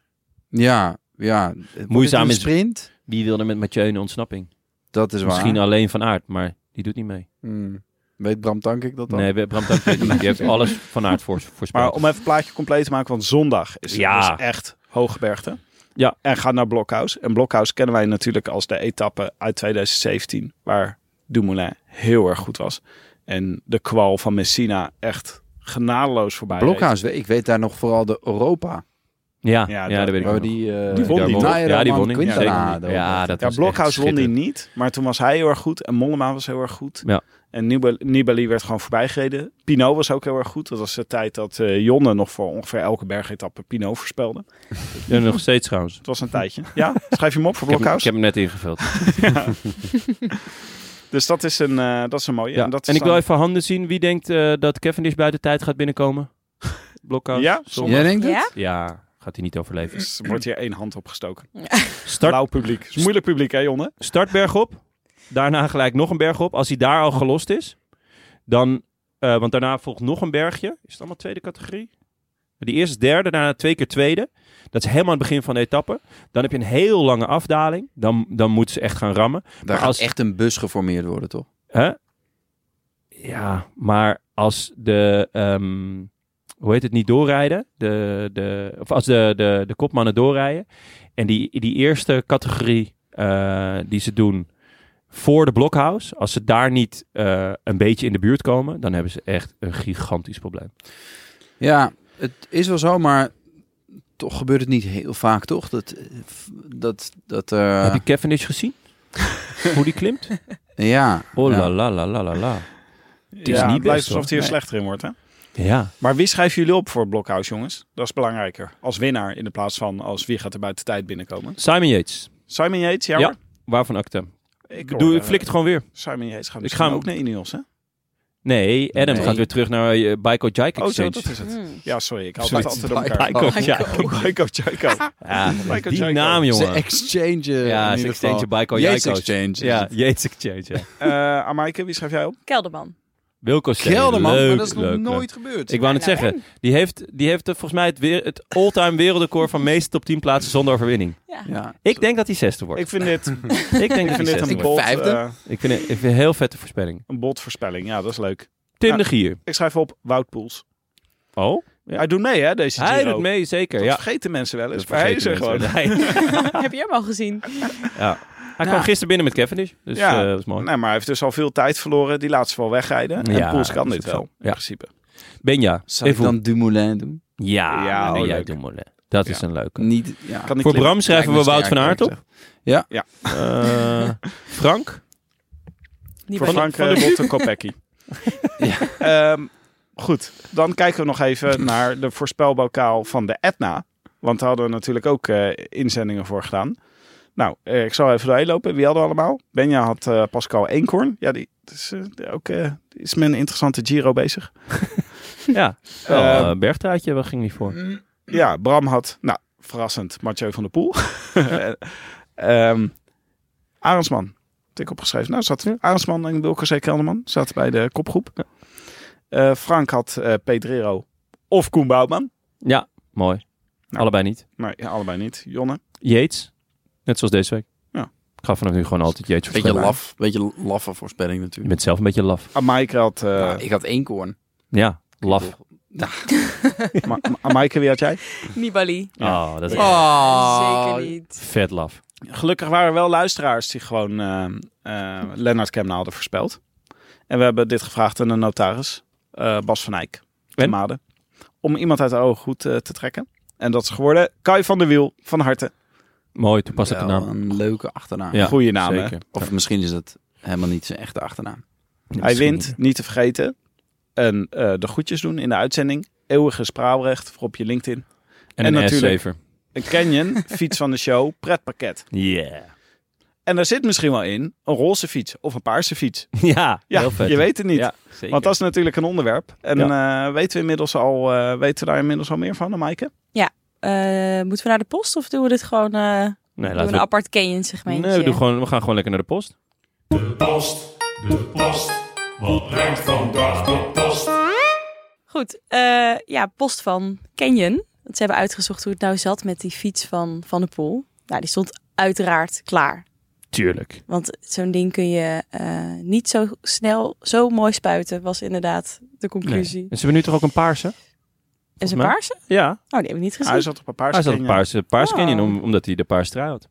S2: Ja, ja. Wordt het
S1: Moeizaam
S2: een
S1: is-
S2: sprint.
S1: Wie wil er met Mathieu in de ontsnapping?
S2: Dat is waar.
S1: Misschien alleen Van Aert, maar die doet niet mee.
S2: Hmm. Weet Bram Tank ik dat dan?
S1: Nee, we- Bram Tank weet het niet. Die heeft alles Van Aert voor, voorspeld.
S3: Maar om even het plaatje compleet te maken, want zondag is
S1: Ja.
S3: het dus echt hooggebergte.
S1: Ja.
S3: En gaat naar Blockhouse. En Blockhouse kennen wij natuurlijk als de etappe uit 2017, waar Dumoulin heel erg goed was. En de kwal van Messina echt genadeloos voorbij reed.
S2: Blokhuis, ik weet daar nog vooral de Europa.
S1: Ja,
S3: Ja,
S1: ja,
S3: dat-
S1: dat weet ik
S2: Waar we
S1: ook nog.
S2: die, eh,
S3: Die won
S2: daar
S3: die, toch?
S2: Nairo,
S1: Ja, die
S2: Man,
S1: won ik. Ja,
S2: Quintana
S3: zeker.
S2: hadden we
S1: Ja,
S2: ook.
S1: dat
S3: Ja,
S1: was
S3: Blokhuis
S1: echt
S3: won die
S1: schitterend.
S3: niet, maar toen was hij heel erg goed en Mollema was heel erg goed.
S1: Ja.
S3: En Nibali- Nibali werd gewoon voorbijgereden. Pinot was ook heel erg goed. Dat was de tijd dat eh, Jonne nog voor ongeveer elke bergetappe Pinot voorspelde.
S1: Ja, nog steeds trouwens.
S3: Het was een tijdje. Ja, schrijf je hem op voor
S1: Hm. Ik heb, hem-
S3: Blockhouse.
S1: ik heb hem net ingevuld.
S3: Dus dat is een, eh, dat is een mooie.
S1: Ja.
S3: En, dat is
S1: en ik
S3: dan-
S1: wil even handen zien. Wie denkt eh dat Cavendish buiten tijd gaat binnenkomen? Blokhuis?
S3: Ja,
S1: zondag.
S2: Jij denkt het?
S6: Ja?
S1: Ja, gaat hij niet overleven.
S3: Dus er wordt hier één hand opgestoken.
S1: Start,
S3: Blauw publiek. Is moeilijk publiek, hè, Jonne?
S1: start berg op. Daarna gelijk nog een berg op. Als hij daar al gelost is, dan... eh, want daarna volgt nog een bergje. Is het allemaal tweede categorie? Die eerste is derde, daarna twee keer tweede. Dat is helemaal aan het begin van de etappe. Dan heb je een heel lange afdaling. Dan, dan moeten ze echt gaan rammen.
S2: Daar gaat
S1: als-
S2: echt een bus geformeerd worden, toch?
S1: Hè? Ja, maar als de. ehm, hoe heet het niet doorrijden? De, de, of als de, de, de kopmannen doorrijden. En die, die eerste categorie eh, die ze doen voor de blockhouse. Als ze daar niet eh, een beetje in de buurt komen. dan hebben ze echt een gigantisch probleem.
S2: Ja, het is wel zo, maar toch gebeurt het niet heel vaak, toch? Dat, eh, dat, dat, eh,
S1: Heb je Cavendish gezien? hoe die klimt?
S2: ja.
S1: Oh la
S2: ja.
S1: la la la la la.
S3: Het
S1: is niet
S3: het
S1: best,
S3: lijkt alsof
S1: hoor.
S3: hij er
S2: Nee.
S3: slechter in wordt, hè?
S1: Ja.
S3: Maar wie schrijven jullie op voor Blokhuis, jongens? Dat is belangrijker. Als winnaar in de plaats van als wie gaat er buiten tijd binnenkomen.
S1: Simon Yates.
S3: Simon Yates, ja,
S1: Ja.
S3: hoor.
S1: Waarvan acte?
S3: Ik
S1: Ik,
S3: hoor,
S1: doe,
S3: eh,
S1: ik flik het gewoon weer.
S3: Simon Yates gaat
S1: Ik
S3: misschien
S1: ga-
S3: ook naar Ineos, hè?
S1: Nee, Adam
S2: Nee.
S1: gaat weer terug naar eh, Baiko Jike
S3: Oh, zo,
S1: Exchange.
S3: dat is het.
S4: Hmm.
S3: Ja, sorry, ik haal het
S2: Sorry.
S3: altijd door elkaar. Oh,
S1: Baiko Jike.
S3: Baiko Jaiko.
S1: Ja,
S3: Baiko
S1: die
S3: Jaiko.
S1: naam,
S2: Ze
S1: jongen.
S3: eh,
S2: exchange.
S1: Ja, ze exchange Baiko
S2: Yates
S1: Jaiko.
S2: exchange.
S1: Ja, Yates Exchange, ja.
S3: Eh Amaike, wie schrijf jij op?
S4: Kelderman.
S1: Wilco Steen,
S2: Kelderman,
S1: leuk,
S2: maar dat is nog
S1: leuk, leuk.
S2: nooit gebeurd.
S1: Ik wou net
S4: Nou,
S1: zeggen, die heeft, die heeft eh, volgens mij het, weer, het all-time wereldrecord van meeste top 10 plaatsen zonder overwinning.
S4: Ja.
S2: ja.
S1: Ik denk dat hij zesde wordt.
S3: Ik
S1: Ik,
S3: vind dit,
S1: denk dat
S3: ik
S1: hij
S3: vind dit
S1: zesde
S3: een
S1: wordt.
S2: Ik
S3: bot,
S2: vijfde.
S3: eh,
S1: Ik vind, het- ik vind het een heel vette voorspelling.
S3: een bot voorspelling. Ja, dat is leuk.
S1: Tim
S3: Ja.
S1: de Gier.
S3: Ik schrijf op Wout Poels.
S1: Oh? Ja.
S3: Hij doet mee, hè, deze
S1: Hij
S3: Giro.
S1: doet mee, zeker.
S3: Dat
S1: Ja.
S3: vergeten mensen wel eens,
S1: Dat
S3: maar hij is er
S1: vergeten
S3: gewoon.
S1: mensen. Hij,
S4: Heb je hem al gezien?
S1: ja. hij kwam gisteren binnen met Cavendish, dus eh
S3: Nou. Ja.
S1: dat is mooi.
S3: Nee, maar hij heeft dus al veel tijd verloren. Die laat ze wel wegrijden. En
S1: Ja,
S3: Poels kan
S1: dat
S3: dit
S1: is
S3: wel,
S1: zo.
S3: in
S1: Ja.
S3: principe.
S1: Benja,
S2: Zou ik
S1: even
S2: dan Dumoulin doen?
S1: Ja,
S3: Ja,
S1: ja
S3: oh,
S1: jij
S3: leuk.
S1: doen, Molle. Dat is
S3: Ja.
S1: een leuke.
S2: Niet, ja.
S3: Kan ik
S1: Voor
S3: klimmen?
S1: Bram schrijven we
S2: Lijkt me
S1: Wout van
S2: sterk,
S1: Aert op.
S2: eerlijk gezegd. Ja.
S1: Eh, Frank?
S4: Die
S3: Voor
S4: bij-
S3: Frank
S1: van
S3: van
S1: de-
S3: de Botte Kopecky. Ehm, goed, dan kijken we nog even naar de voorspelbokaal van de Etna. Want daar hadden we natuurlijk ook eh, inzendingen voor gedaan. Nou, eh, ik zal even doorheen lopen. Wie hadden we allemaal? Benja had eh, Pascal Eenkorn. Ja, die dat is eh, ook eh, is met een interessante Giro bezig.
S1: Ja. Wel,
S3: Ehm,
S1: eh, Bergtaatje, waar ging die voor?
S3: Ja, Bram had, nou, verrassend, Mathieu van der Poel. Ehm Arendsman, had ik opgeschreven. Nou, zat Arendsman en Wilco C. Kelderman zaten bij de kopgroep. Eh, Frank had eh, Pedrero of Koen Boutman.
S1: Ja, mooi.
S3: Nou.
S1: Allebei niet.
S3: Nee, ja, allebei niet. Jonne.
S1: Yates, net zoals deze week.
S3: Ja.
S1: Ik ga vanaf nu gewoon altijd Yates
S2: Beetje
S1: voorspellen.
S2: laf. Beetje laffe voorspelling
S1: Je
S2: natuurlijk.
S1: bent zelf een beetje laf.
S3: Amaike had... eh
S2: Ja, ik had één koorn.
S1: Ja, laf.
S3: Ma- Ma- Amaike, wie had jij?
S4: Nibali.
S1: Oh, dat is
S3: Ah.
S4: Ja.
S2: Oh.
S4: Zeker niet.
S1: vet laf.
S3: Gelukkig waren er wel luisteraars die gewoon eh eh, Lennart Kemna hadden voorspeld. En we hebben dit gevraagd aan de notaris, eh, Bas van Eyck, te
S1: En?
S3: Made. Om iemand uit de ogen goed eh, te trekken. En dat is geworden Kai van der Wiel, van harte.
S1: Mooi, toepasselijke
S2: Wel
S1: naam.
S2: Een leuke achternaam.
S1: Ja,
S3: Goeie naam, hè?
S1: Zeker.
S2: Of misschien is het helemaal niet zijn echte achternaam.
S3: Hij wint, niet te vergeten. En eh, de goedjes doen in de uitzending. Eeuwige spraalrecht voor op je LinkedIn.
S1: En,
S3: En
S1: een
S3: natuurlijk-
S1: S-saver.
S3: Een Canyon, fiets van de show, pretpakket.
S1: Yeah.
S3: En daar zit misschien wel in een roze fiets of een paarse fiets.
S1: Ja,
S3: Ja,
S1: heel vet.
S3: je weet het niet.
S1: Ja, zeker.
S3: Want dat is natuurlijk een onderwerp. En eh, weten, we inmiddels al, eh, weten we daar inmiddels al meer van, Maaike?
S4: Eh, moeten we naar de post of doen we dit gewoon eh doen
S1: nee,
S4: we
S1: laten
S4: een
S1: we...
S4: apart Canyon segmentje?
S1: Nee, we, doen gewoon, we gaan gewoon lekker naar de post.
S6: De post, de post. Wat brengt vandaag de post?
S4: Goed, eh, ja, post van Canyon. Want Ze hebben uitgezocht hoe het nou zat met die fiets van Van de Poel. Nou, die stond uiteraard klaar.
S1: Tuurlijk.
S4: Want zo'n ding kun je eh, niet zo snel, zo mooi spuiten, was inderdaad de conclusie.
S1: En ze hebben nu toch ook een paarse?
S4: En zijn
S1: mij-
S4: paarse?
S1: Ja,
S4: Oh, die heb ik niet gezien.
S3: Hij zat op een paarse
S1: hij zat een
S3: Canyon.
S1: paarse, paarse
S4: Oh.
S1: Canyon, om, omdat hij de paarse trui had.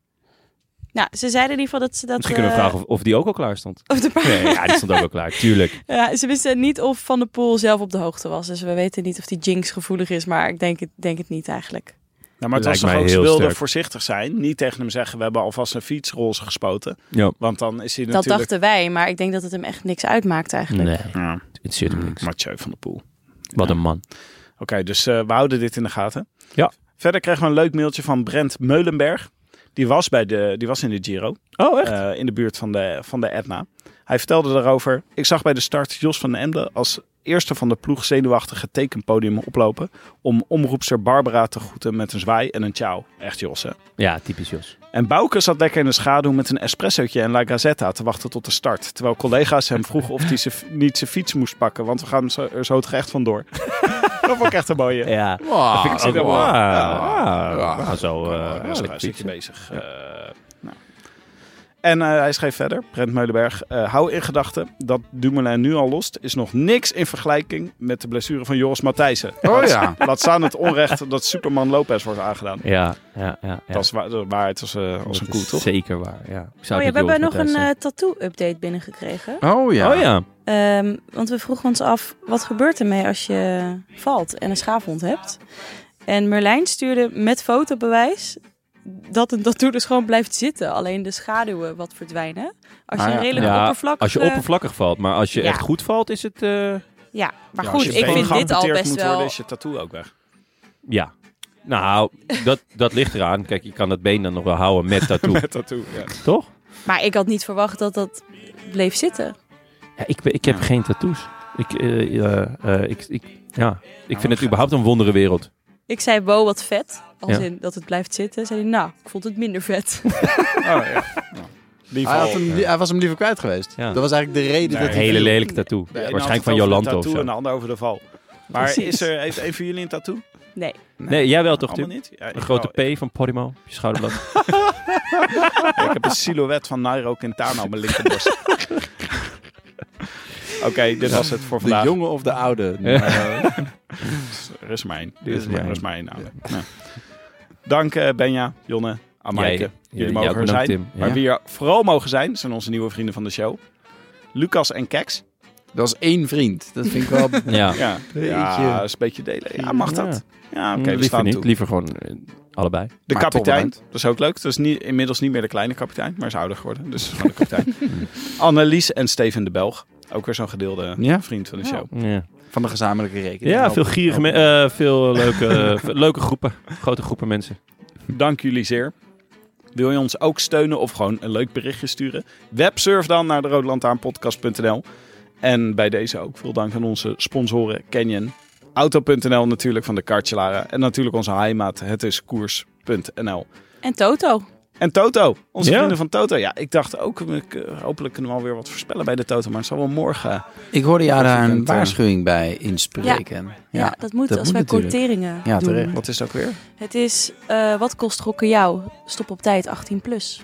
S4: Nou, ze zeiden in ieder geval dat ze dat...
S1: Misschien kunnen we
S4: eh,
S1: vragen of, of die ook al klaar stond.
S4: of de paarse...
S1: Nee, ja, die stond ook al klaar, tuurlijk.
S4: Ja, ze wisten niet of Van der Poel zelf op de hoogte was. Dus we weten niet of die Jinx gevoelig is, maar ik denk het, denk het niet eigenlijk.
S3: Nou, maar het
S1: Lijkt
S3: was toch
S1: mij
S3: ook, ze
S1: heel
S3: wilden
S1: sterk.
S3: voorzichtig zijn. Niet tegen hem zeggen, we hebben alvast een fiets roze gespoten.
S1: Ja.
S3: Want dan is hij
S4: Dat
S3: natuurlijk...
S4: dachten wij, maar ik denk dat het hem echt niks uitmaakt eigenlijk.
S1: Nee, Mm,
S3: Ja,
S1: het zit hem niks.
S3: Mathieu van der Poel.
S1: Wat een man.
S3: Oké, dus eh, we houden dit in de gaten.
S1: Ja.
S3: Verder kregen we een leuk mailtje van Brent Meulenberg. Die was, bij de, die was in de Giro.
S1: Oh,
S3: eh, in de buurt van de, van de Etna. Hij vertelde daarover. Ik zag bij de start Jos van den Emden als eerste van de ploeg zenuwachtig het tekenpodium oplopen. Om omroepster Barbara te groeten met een zwaai en een ciao. Echt Jos, hè?
S1: Ja, typisch Jos.
S3: En Bouke zat lekker in de schaduw met een espressootje en La Gazzetta te wachten tot de start. Terwijl collega's hem vroegen of hij ze, niet zijn fiets moest pakken, want we gaan zo- er zo het gerecht vandoor. dat vond ik echt een mooie.
S1: Ja.
S2: Wow,
S1: Vind ik ook
S3: wel
S1: wel.
S3: mooi. Ja.
S1: Ah,
S2: Ja.
S1: ah, zo. eh,
S3: Ja,
S1: eigenlijk
S3: een stukje
S1: fietsen.
S3: bezig. Eh, nou. En eh, hij schreef verder, Brent Meulenberg, eh, hou in gedachten dat Dumoulin nu al lost, is nog niks in vergelijking met de blessure van Joris Matthijssen.
S2: Oh
S3: Laat-
S2: ja.
S3: Laat staan het onrecht dat Superman Lopez wordt aangedaan.
S1: Ja, ja, ja. ja.
S3: Dat is wa- dat is waarheid als, eh, als
S1: Dat
S3: een
S1: is
S3: koe, toch?
S1: Zeker waar, ja. Ik zou
S4: Oh ja,
S1: het
S4: we
S1: niet
S4: hebben nog
S1: willen
S4: een
S1: verpesten.
S4: eh, tattoo-update binnengekregen.
S2: Oh ja.
S1: Oh ja.
S4: Ehm, want we vroegen ons af, wat gebeurt ermee als je valt en een schaafwond hebt? En Merlijn stuurde met fotobewijs dat een tattoo dus gewoon blijft zitten. Alleen de schaduwen wat verdwijnen. Als je
S2: Ah,
S4: een
S2: ja.
S4: redelijk
S1: Ja,
S4: oppervlak...
S1: Als je
S4: eh,
S1: oppervlakkig valt, maar als je
S4: ja.
S1: echt goed valt, is het... eh,
S4: ja, maar
S3: Ja, als
S4: goed,
S3: je
S4: ik
S3: been
S4: vind dit al
S3: geamputeerd
S4: best
S3: moet
S4: wel...
S3: Worden, is je tattoo ook weg.
S1: ja. Nou, dat, dat ligt eraan. Kijk, je kan dat been dan nog wel houden met tattoo,
S3: Met tattoo, ja.
S1: toch?
S4: Maar ik had niet verwacht dat dat bleef zitten.
S1: Ja, ik, ben- ik heb geen tattoos. Ik, eh, eh, eh, ik, ik, ja. ik vind het überhaupt een wondere wereld.
S4: Ik zei, wow, wat vet. Als
S1: Ja.
S4: in dat het blijft zitten. Zei hij, nou, ik vond het minder vet.
S3: Oh, ja. Nou, die
S2: Hij,
S3: val.
S2: had hem, li- hij was hem liever kwijt geweest.
S1: Ja.
S2: Dat was eigenlijk de reden
S3: Nee.
S2: dat
S1: Een
S2: hij
S1: hele
S2: viel.
S1: lelijke tattoo.
S3: De ene had het
S1: Waarschijnlijk van
S3: over de
S1: Jolante of
S3: tattoo
S1: zo.
S3: en de ander over de val. Maar
S4: Precies.
S3: is er, heeft een van jullie een tattoo?
S4: Nee.
S1: Nee, jij wel toch,
S3: Allemaal
S1: Tim?
S3: niet? Ja,
S1: Een
S3: ik
S1: grote
S3: wel.
S1: P van Podimo op je schouderblad.
S3: Ik heb een silhouet van Nairo Quintana op mijn linkerborst. Oké, dit was het voor
S2: De
S3: vandaag.
S2: jonge of de oude. eh,
S3: Er is maar één.
S1: Er is maar
S3: Ja,
S1: één.
S3: Er is maar één. nou. Nou. Dank eh, Benja, Jonne, Amaike.
S1: Jij-
S3: Jullie
S1: jij-
S3: mogen
S1: jou
S3: er
S1: bedankt,
S3: zijn.
S1: Tim.
S3: Maar
S1: Ja.
S3: wie er vooral mogen zijn, zijn onze nieuwe vrienden van de show. Lucas en Keks.
S2: Dat is één vriend. Dat vind ik wel...
S1: Ja.
S3: Ja, ja is een beetje delen. Ja, mag dat? Ja, oké, we
S1: liever
S3: staan
S1: Mm, niet.
S3: toe.
S1: Liever gewoon eh, allebei.
S3: De
S2: Maar toch
S3: kapitein,
S2: bedankt.
S3: dat is ook leuk. Dat is niet, inmiddels niet meer de kleine kapitein, maar is ouder geworden. Dus gewoon de kapitein. Annelies en Steven de Belg. Ook weer zo'n gedeelde
S2: Ja.
S3: vriend van de show.
S1: Ja,
S2: Van de gezamenlijke rekening.
S1: ja veel gierige, me- eh, veel leuke, eh, leuke groepen. Grote groepen mensen.
S3: Dank jullie zeer. Wil je ons ook steunen of gewoon een leuk berichtje sturen? Websurf dan naar de roodlantaarnpodcast.nl. En bij deze ook veel dank aan onze sponsoren Canyon, Auto.nl natuurlijk van de Kartjelaren. En natuurlijk onze heimaat, het is koers.nl.
S4: En Toto.
S3: En Toto, onze
S1: Ja.
S3: vrienden van Toto. Ja, ik dacht ook, we k- hopelijk kunnen we alweer wat voorspellen bij de Toto. Maar het zal wel morgen.
S2: Ik hoorde jou daar een
S3: Weekend, eh.
S2: waarschuwing bij inspreken. Ja,
S4: Ja, dat moet
S2: dat
S4: als
S2: moet
S4: wij
S2: natuurlijk.
S4: quoteringen
S2: Ja,
S4: doen.
S2: terecht.
S3: Wat is het ook weer?
S4: Het is, eh, wat kost gokken jou? Stop op tijd, 18 plus.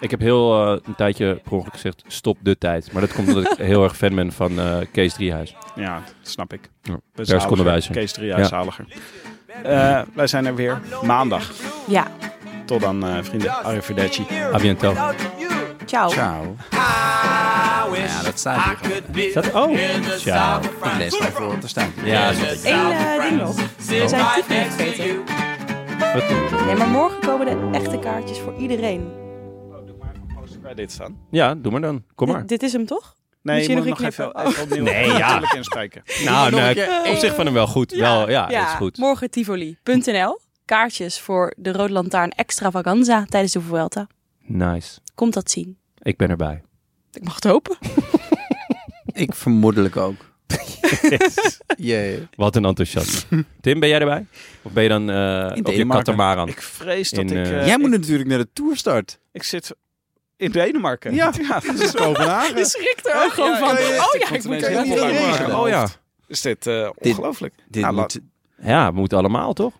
S1: Ik heb heel eh, een tijdje per ongeluk gezegd, stop de tijd. Maar dat komt omdat ik heel erg fan ben van eh, Kees Driehuis.
S3: Ja, dat snap ik.
S1: Ja,
S3: Ben
S1: pers
S3: zaliger.
S1: konden wijzen.
S3: Kees
S1: Ja.
S3: Driehuis, zaliger. Eh, wij zijn er weer maandag.
S4: Ja,
S3: Tot dan, eh, vrienden. Arrivederci.
S1: A bientôt.
S4: ciao.
S2: Ciao. Ja, dat staat hier gewoon.
S1: Is dat? Oh, ciao.
S2: Ik lees maar voor wat er staat.
S1: Ja, zit ik.
S4: Eén eh, ding nog. We zijn het niet vergeten. Nee, maar morgen komen de echte kaartjes voor iedereen.
S3: Bij dit staan.
S1: ja, doe maar dan. Kom maar.
S4: Dit, dit is hem toch?
S3: Nee,
S4: Moet
S3: je
S4: je
S3: moet
S4: nog
S3: nog
S4: een
S3: even,
S4: knippen?
S3: even opnieuw
S1: Nee, ja.
S3: natuurlijk inspreken.
S1: Nou,
S2: nog een
S1: nou
S2: keer.
S1: ik- op zich van hem wel goed. Wel, ja, dat is goed.
S4: Morgen tivoli.nl. Kaartjes voor de Rode Lantaarn Extravaganza tijdens de Vuelta.
S1: Nice.
S4: Komt dat zien.
S1: Ik ben erbij.
S4: Ik mag het hopen.
S2: Ik vermoedelijk ook. Jee.
S1: Wat een enthousiasme. Tim, ben jij erbij? Of ben je dan eh op je
S2: Denemarken.
S1: katamaran?
S3: Ik vrees dat
S1: In,
S3: ik...
S1: eh,
S3: eh,
S2: Jij moet
S3: ik,
S2: natuurlijk naar de tourstart.
S3: ik zit in Denemarken.
S2: Ja.
S3: dat is
S2: Kopenhagen.
S4: Je schrikt er ook gewoon
S3: ja,
S4: van.
S3: ja, ja.
S4: Oh ja, ik
S3: Komt
S4: moet
S3: ineens
S4: er
S3: heel
S4: helemaal
S3: veel
S4: van
S3: bij
S4: maken.
S3: elkaar.
S1: Oh ja.
S3: Is dit eh,
S2: Dit-
S3: ongelooflijk?
S2: Dit
S3: Nou,
S2: moet...
S1: Ja, we moeten allemaal, toch?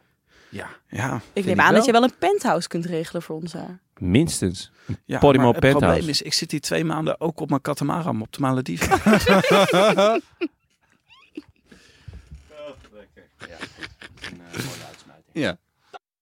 S3: Ja,
S4: Ik
S2: Vind
S4: neem
S2: ik
S4: aan
S2: wel.
S4: dat je wel een penthouse kunt regelen voor ons eh. daar.
S1: Minstens.
S3: ja
S1: Podimo
S3: maar het
S1: Penthouse.
S3: probleem is, ik zit hier twee maanden ook op mijn katamaran op de Malediven.
S2: Ja.